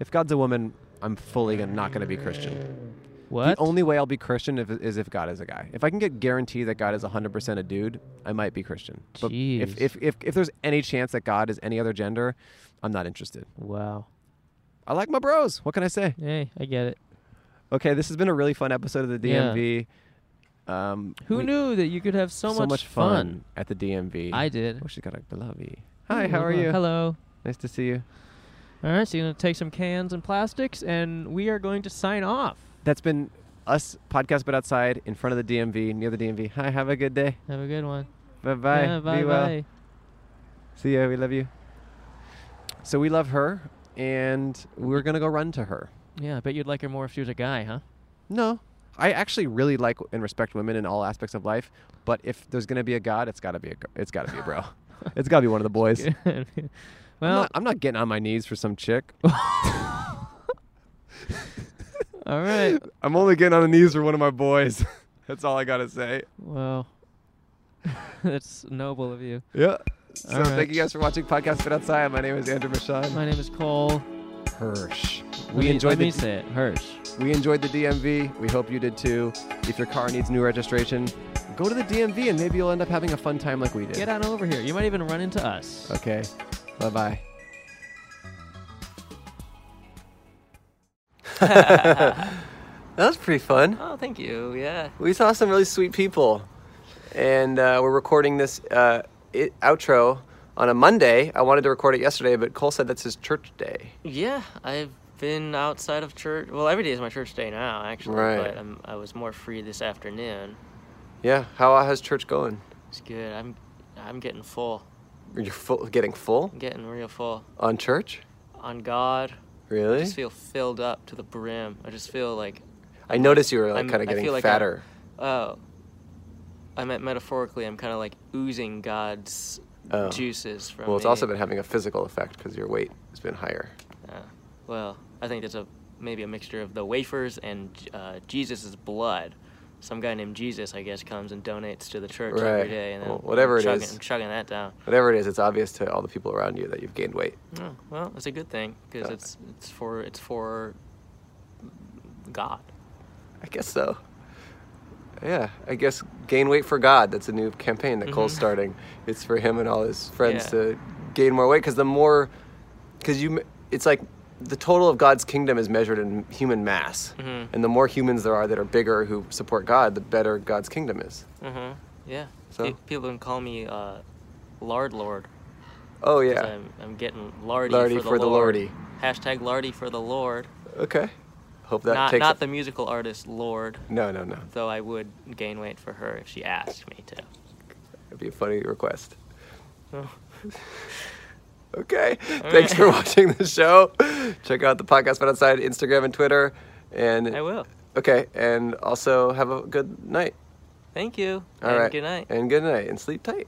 [SPEAKER 5] If God's a woman, I'm fully gonna, not going to be Christian.
[SPEAKER 13] What?
[SPEAKER 5] The only way I'll be Christian if, is if God is a guy. If I can get guarantee that God is 100% a dude, I might be Christian. But
[SPEAKER 13] Jeez.
[SPEAKER 5] if, if, if, if there's any chance that God is any other gender, I'm not interested.
[SPEAKER 13] wow.
[SPEAKER 5] I like my bros. What can I say?
[SPEAKER 13] Hey, I get it.
[SPEAKER 5] Okay, this has been a really fun episode of the
[SPEAKER 13] Yeah.
[SPEAKER 5] DMV. Um,
[SPEAKER 13] Who
[SPEAKER 5] we-
[SPEAKER 13] knew that you could have so,
[SPEAKER 5] so much fun at the DMV.
[SPEAKER 13] I did.
[SPEAKER 5] Oh, she's got a glovey. Hi, how are you?
[SPEAKER 13] Hello.
[SPEAKER 5] Nice to see you.
[SPEAKER 13] All right, so you're going to take some cans and plastics, and we are going to sign off.
[SPEAKER 5] That's been us podcast, but outside in front of the DMV, near the DMV. Hi, have a good day.
[SPEAKER 13] Have a good one.
[SPEAKER 5] Bye bye.
[SPEAKER 13] Yeah, bye
[SPEAKER 5] Be well.
[SPEAKER 13] bye.
[SPEAKER 5] See ya. We love you. So we love her, and we're gonna go run to her.
[SPEAKER 13] Yeah, I bet you'd like her more if she was a guy, huh?
[SPEAKER 5] No, I actually really like and respect women in all aspects of life. But if there's gonna be a god, it's gotta be a gr- it's gotta be a bro. it's gotta be one of the boys. I'm
[SPEAKER 13] well,
[SPEAKER 5] not- I'm not getting on my knees for some chick.
[SPEAKER 13] all right.
[SPEAKER 5] I'm only getting on the knees for one of my boys. That's all I gotta say.
[SPEAKER 13] Well, that's noble of you.
[SPEAKER 5] Yeah. So
[SPEAKER 13] All right.
[SPEAKER 5] thank you guys for watching Podcast Fit Outside. My name is Andrew Michon.
[SPEAKER 13] My name is Cole.
[SPEAKER 5] Hirsch.
[SPEAKER 13] Let
[SPEAKER 5] We
[SPEAKER 13] me-
[SPEAKER 5] enjoyed
[SPEAKER 13] let
[SPEAKER 5] the
[SPEAKER 13] me say it. Hirsch.
[SPEAKER 5] we enjoyed the DMV. We hope you did too. If your car needs new registration, go to the DMV and maybe you'll end up having a fun time like we did.
[SPEAKER 13] Get on over here. You might even run into us.
[SPEAKER 5] Okay. Bye bye.
[SPEAKER 6] That was pretty fun.
[SPEAKER 4] Oh, thank you. Yeah.
[SPEAKER 6] We saw some really sweet people, and uh, we're recording this uh, i outro on a Monday. I wanted to record it yesterday, but Cole said that's his church day.
[SPEAKER 4] Yeah, I've been outside of church. Well, every day is my church day now, actually.
[SPEAKER 6] Right.
[SPEAKER 4] But I'm, I was more free this afternoon.
[SPEAKER 6] Yeah, how how's church going?
[SPEAKER 4] It's good. I'm, I'm getting full.
[SPEAKER 6] You're full, getting full
[SPEAKER 4] I'm getting real full
[SPEAKER 6] on church.
[SPEAKER 4] on God. I
[SPEAKER 6] Really?
[SPEAKER 4] just feel filled up to the brim. I just feel like,
[SPEAKER 6] I noticed you were like
[SPEAKER 4] I'm-
[SPEAKER 6] kind
[SPEAKER 4] I
[SPEAKER 6] of getting
[SPEAKER 4] feel like I'm-
[SPEAKER 6] fatter.
[SPEAKER 4] oh. I meant metaphorically. I'm kind of like oozing God's
[SPEAKER 6] Oh.
[SPEAKER 4] juices from.
[SPEAKER 6] Well, it's
[SPEAKER 4] me.
[SPEAKER 6] also been having a physical effect because your weight has been higher.
[SPEAKER 4] Uh, well, I think that's a maybe a mixture of the wafers and uh, Jesus' blood. Some guy named Jesus, I guess, comes and donates to the church
[SPEAKER 6] Right.
[SPEAKER 4] every day, and then
[SPEAKER 6] Well, whatever
[SPEAKER 4] I'm
[SPEAKER 6] it
[SPEAKER 4] chugging,
[SPEAKER 6] is.
[SPEAKER 4] I'm chugging that down.
[SPEAKER 6] Whatever it is, it's obvious to all the people around you that you've gained weight.
[SPEAKER 4] Oh, well, it's a good thing because
[SPEAKER 6] Yeah.
[SPEAKER 4] it's it's for it's for God.
[SPEAKER 6] I guess so. Yeah, I guess gain weight for God. That's a new campaign that Cole's starting. It's for him and all his friends
[SPEAKER 4] Mm-hmm. Yeah.
[SPEAKER 6] to gain more weight because the more, because you, m- it's like the total of God's kingdom is measured in human mass,
[SPEAKER 4] Mm-hmm.
[SPEAKER 6] and the more humans there are that are bigger who support God, the better God's kingdom is.
[SPEAKER 4] hmm Yeah.
[SPEAKER 6] Mm-hmm. So?
[SPEAKER 4] Pe- people can call me uh, Lard Lord.
[SPEAKER 6] Oh
[SPEAKER 4] 'cause
[SPEAKER 6] yeah.
[SPEAKER 4] I'm, I'm getting lardy,
[SPEAKER 6] Lardy
[SPEAKER 4] for the
[SPEAKER 6] for the
[SPEAKER 4] Lord.
[SPEAKER 6] Lordy.
[SPEAKER 4] Hashtag lardy for the Lord.
[SPEAKER 6] Okay. Hope that
[SPEAKER 4] not
[SPEAKER 6] takes.
[SPEAKER 4] not the musical artist Lord,
[SPEAKER 6] no, no, no.
[SPEAKER 4] though I would gain weight for her if she asked me to.
[SPEAKER 6] It'd be a funny request.
[SPEAKER 4] Oh.
[SPEAKER 6] okay. Thanks for watching the show. Check out the podcast but outside Instagram and Twitter. And
[SPEAKER 4] I will.
[SPEAKER 6] Okay, and also have a good night.
[SPEAKER 4] Thank you.
[SPEAKER 6] All right.
[SPEAKER 4] and Good night.
[SPEAKER 6] And good night. And sleep tight.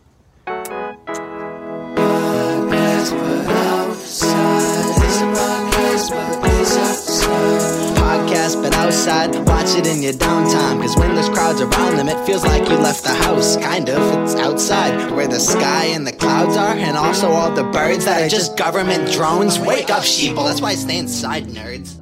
[SPEAKER 3] podcast, but outside. Watch it in your downtime. Cause when there's crowds around them, it feels like you left the house. Kind of, it's outside where the sky and the clouds are, and also all the birds that are just government drones. Wake up, sheeple. That's why I stay inside, nerds.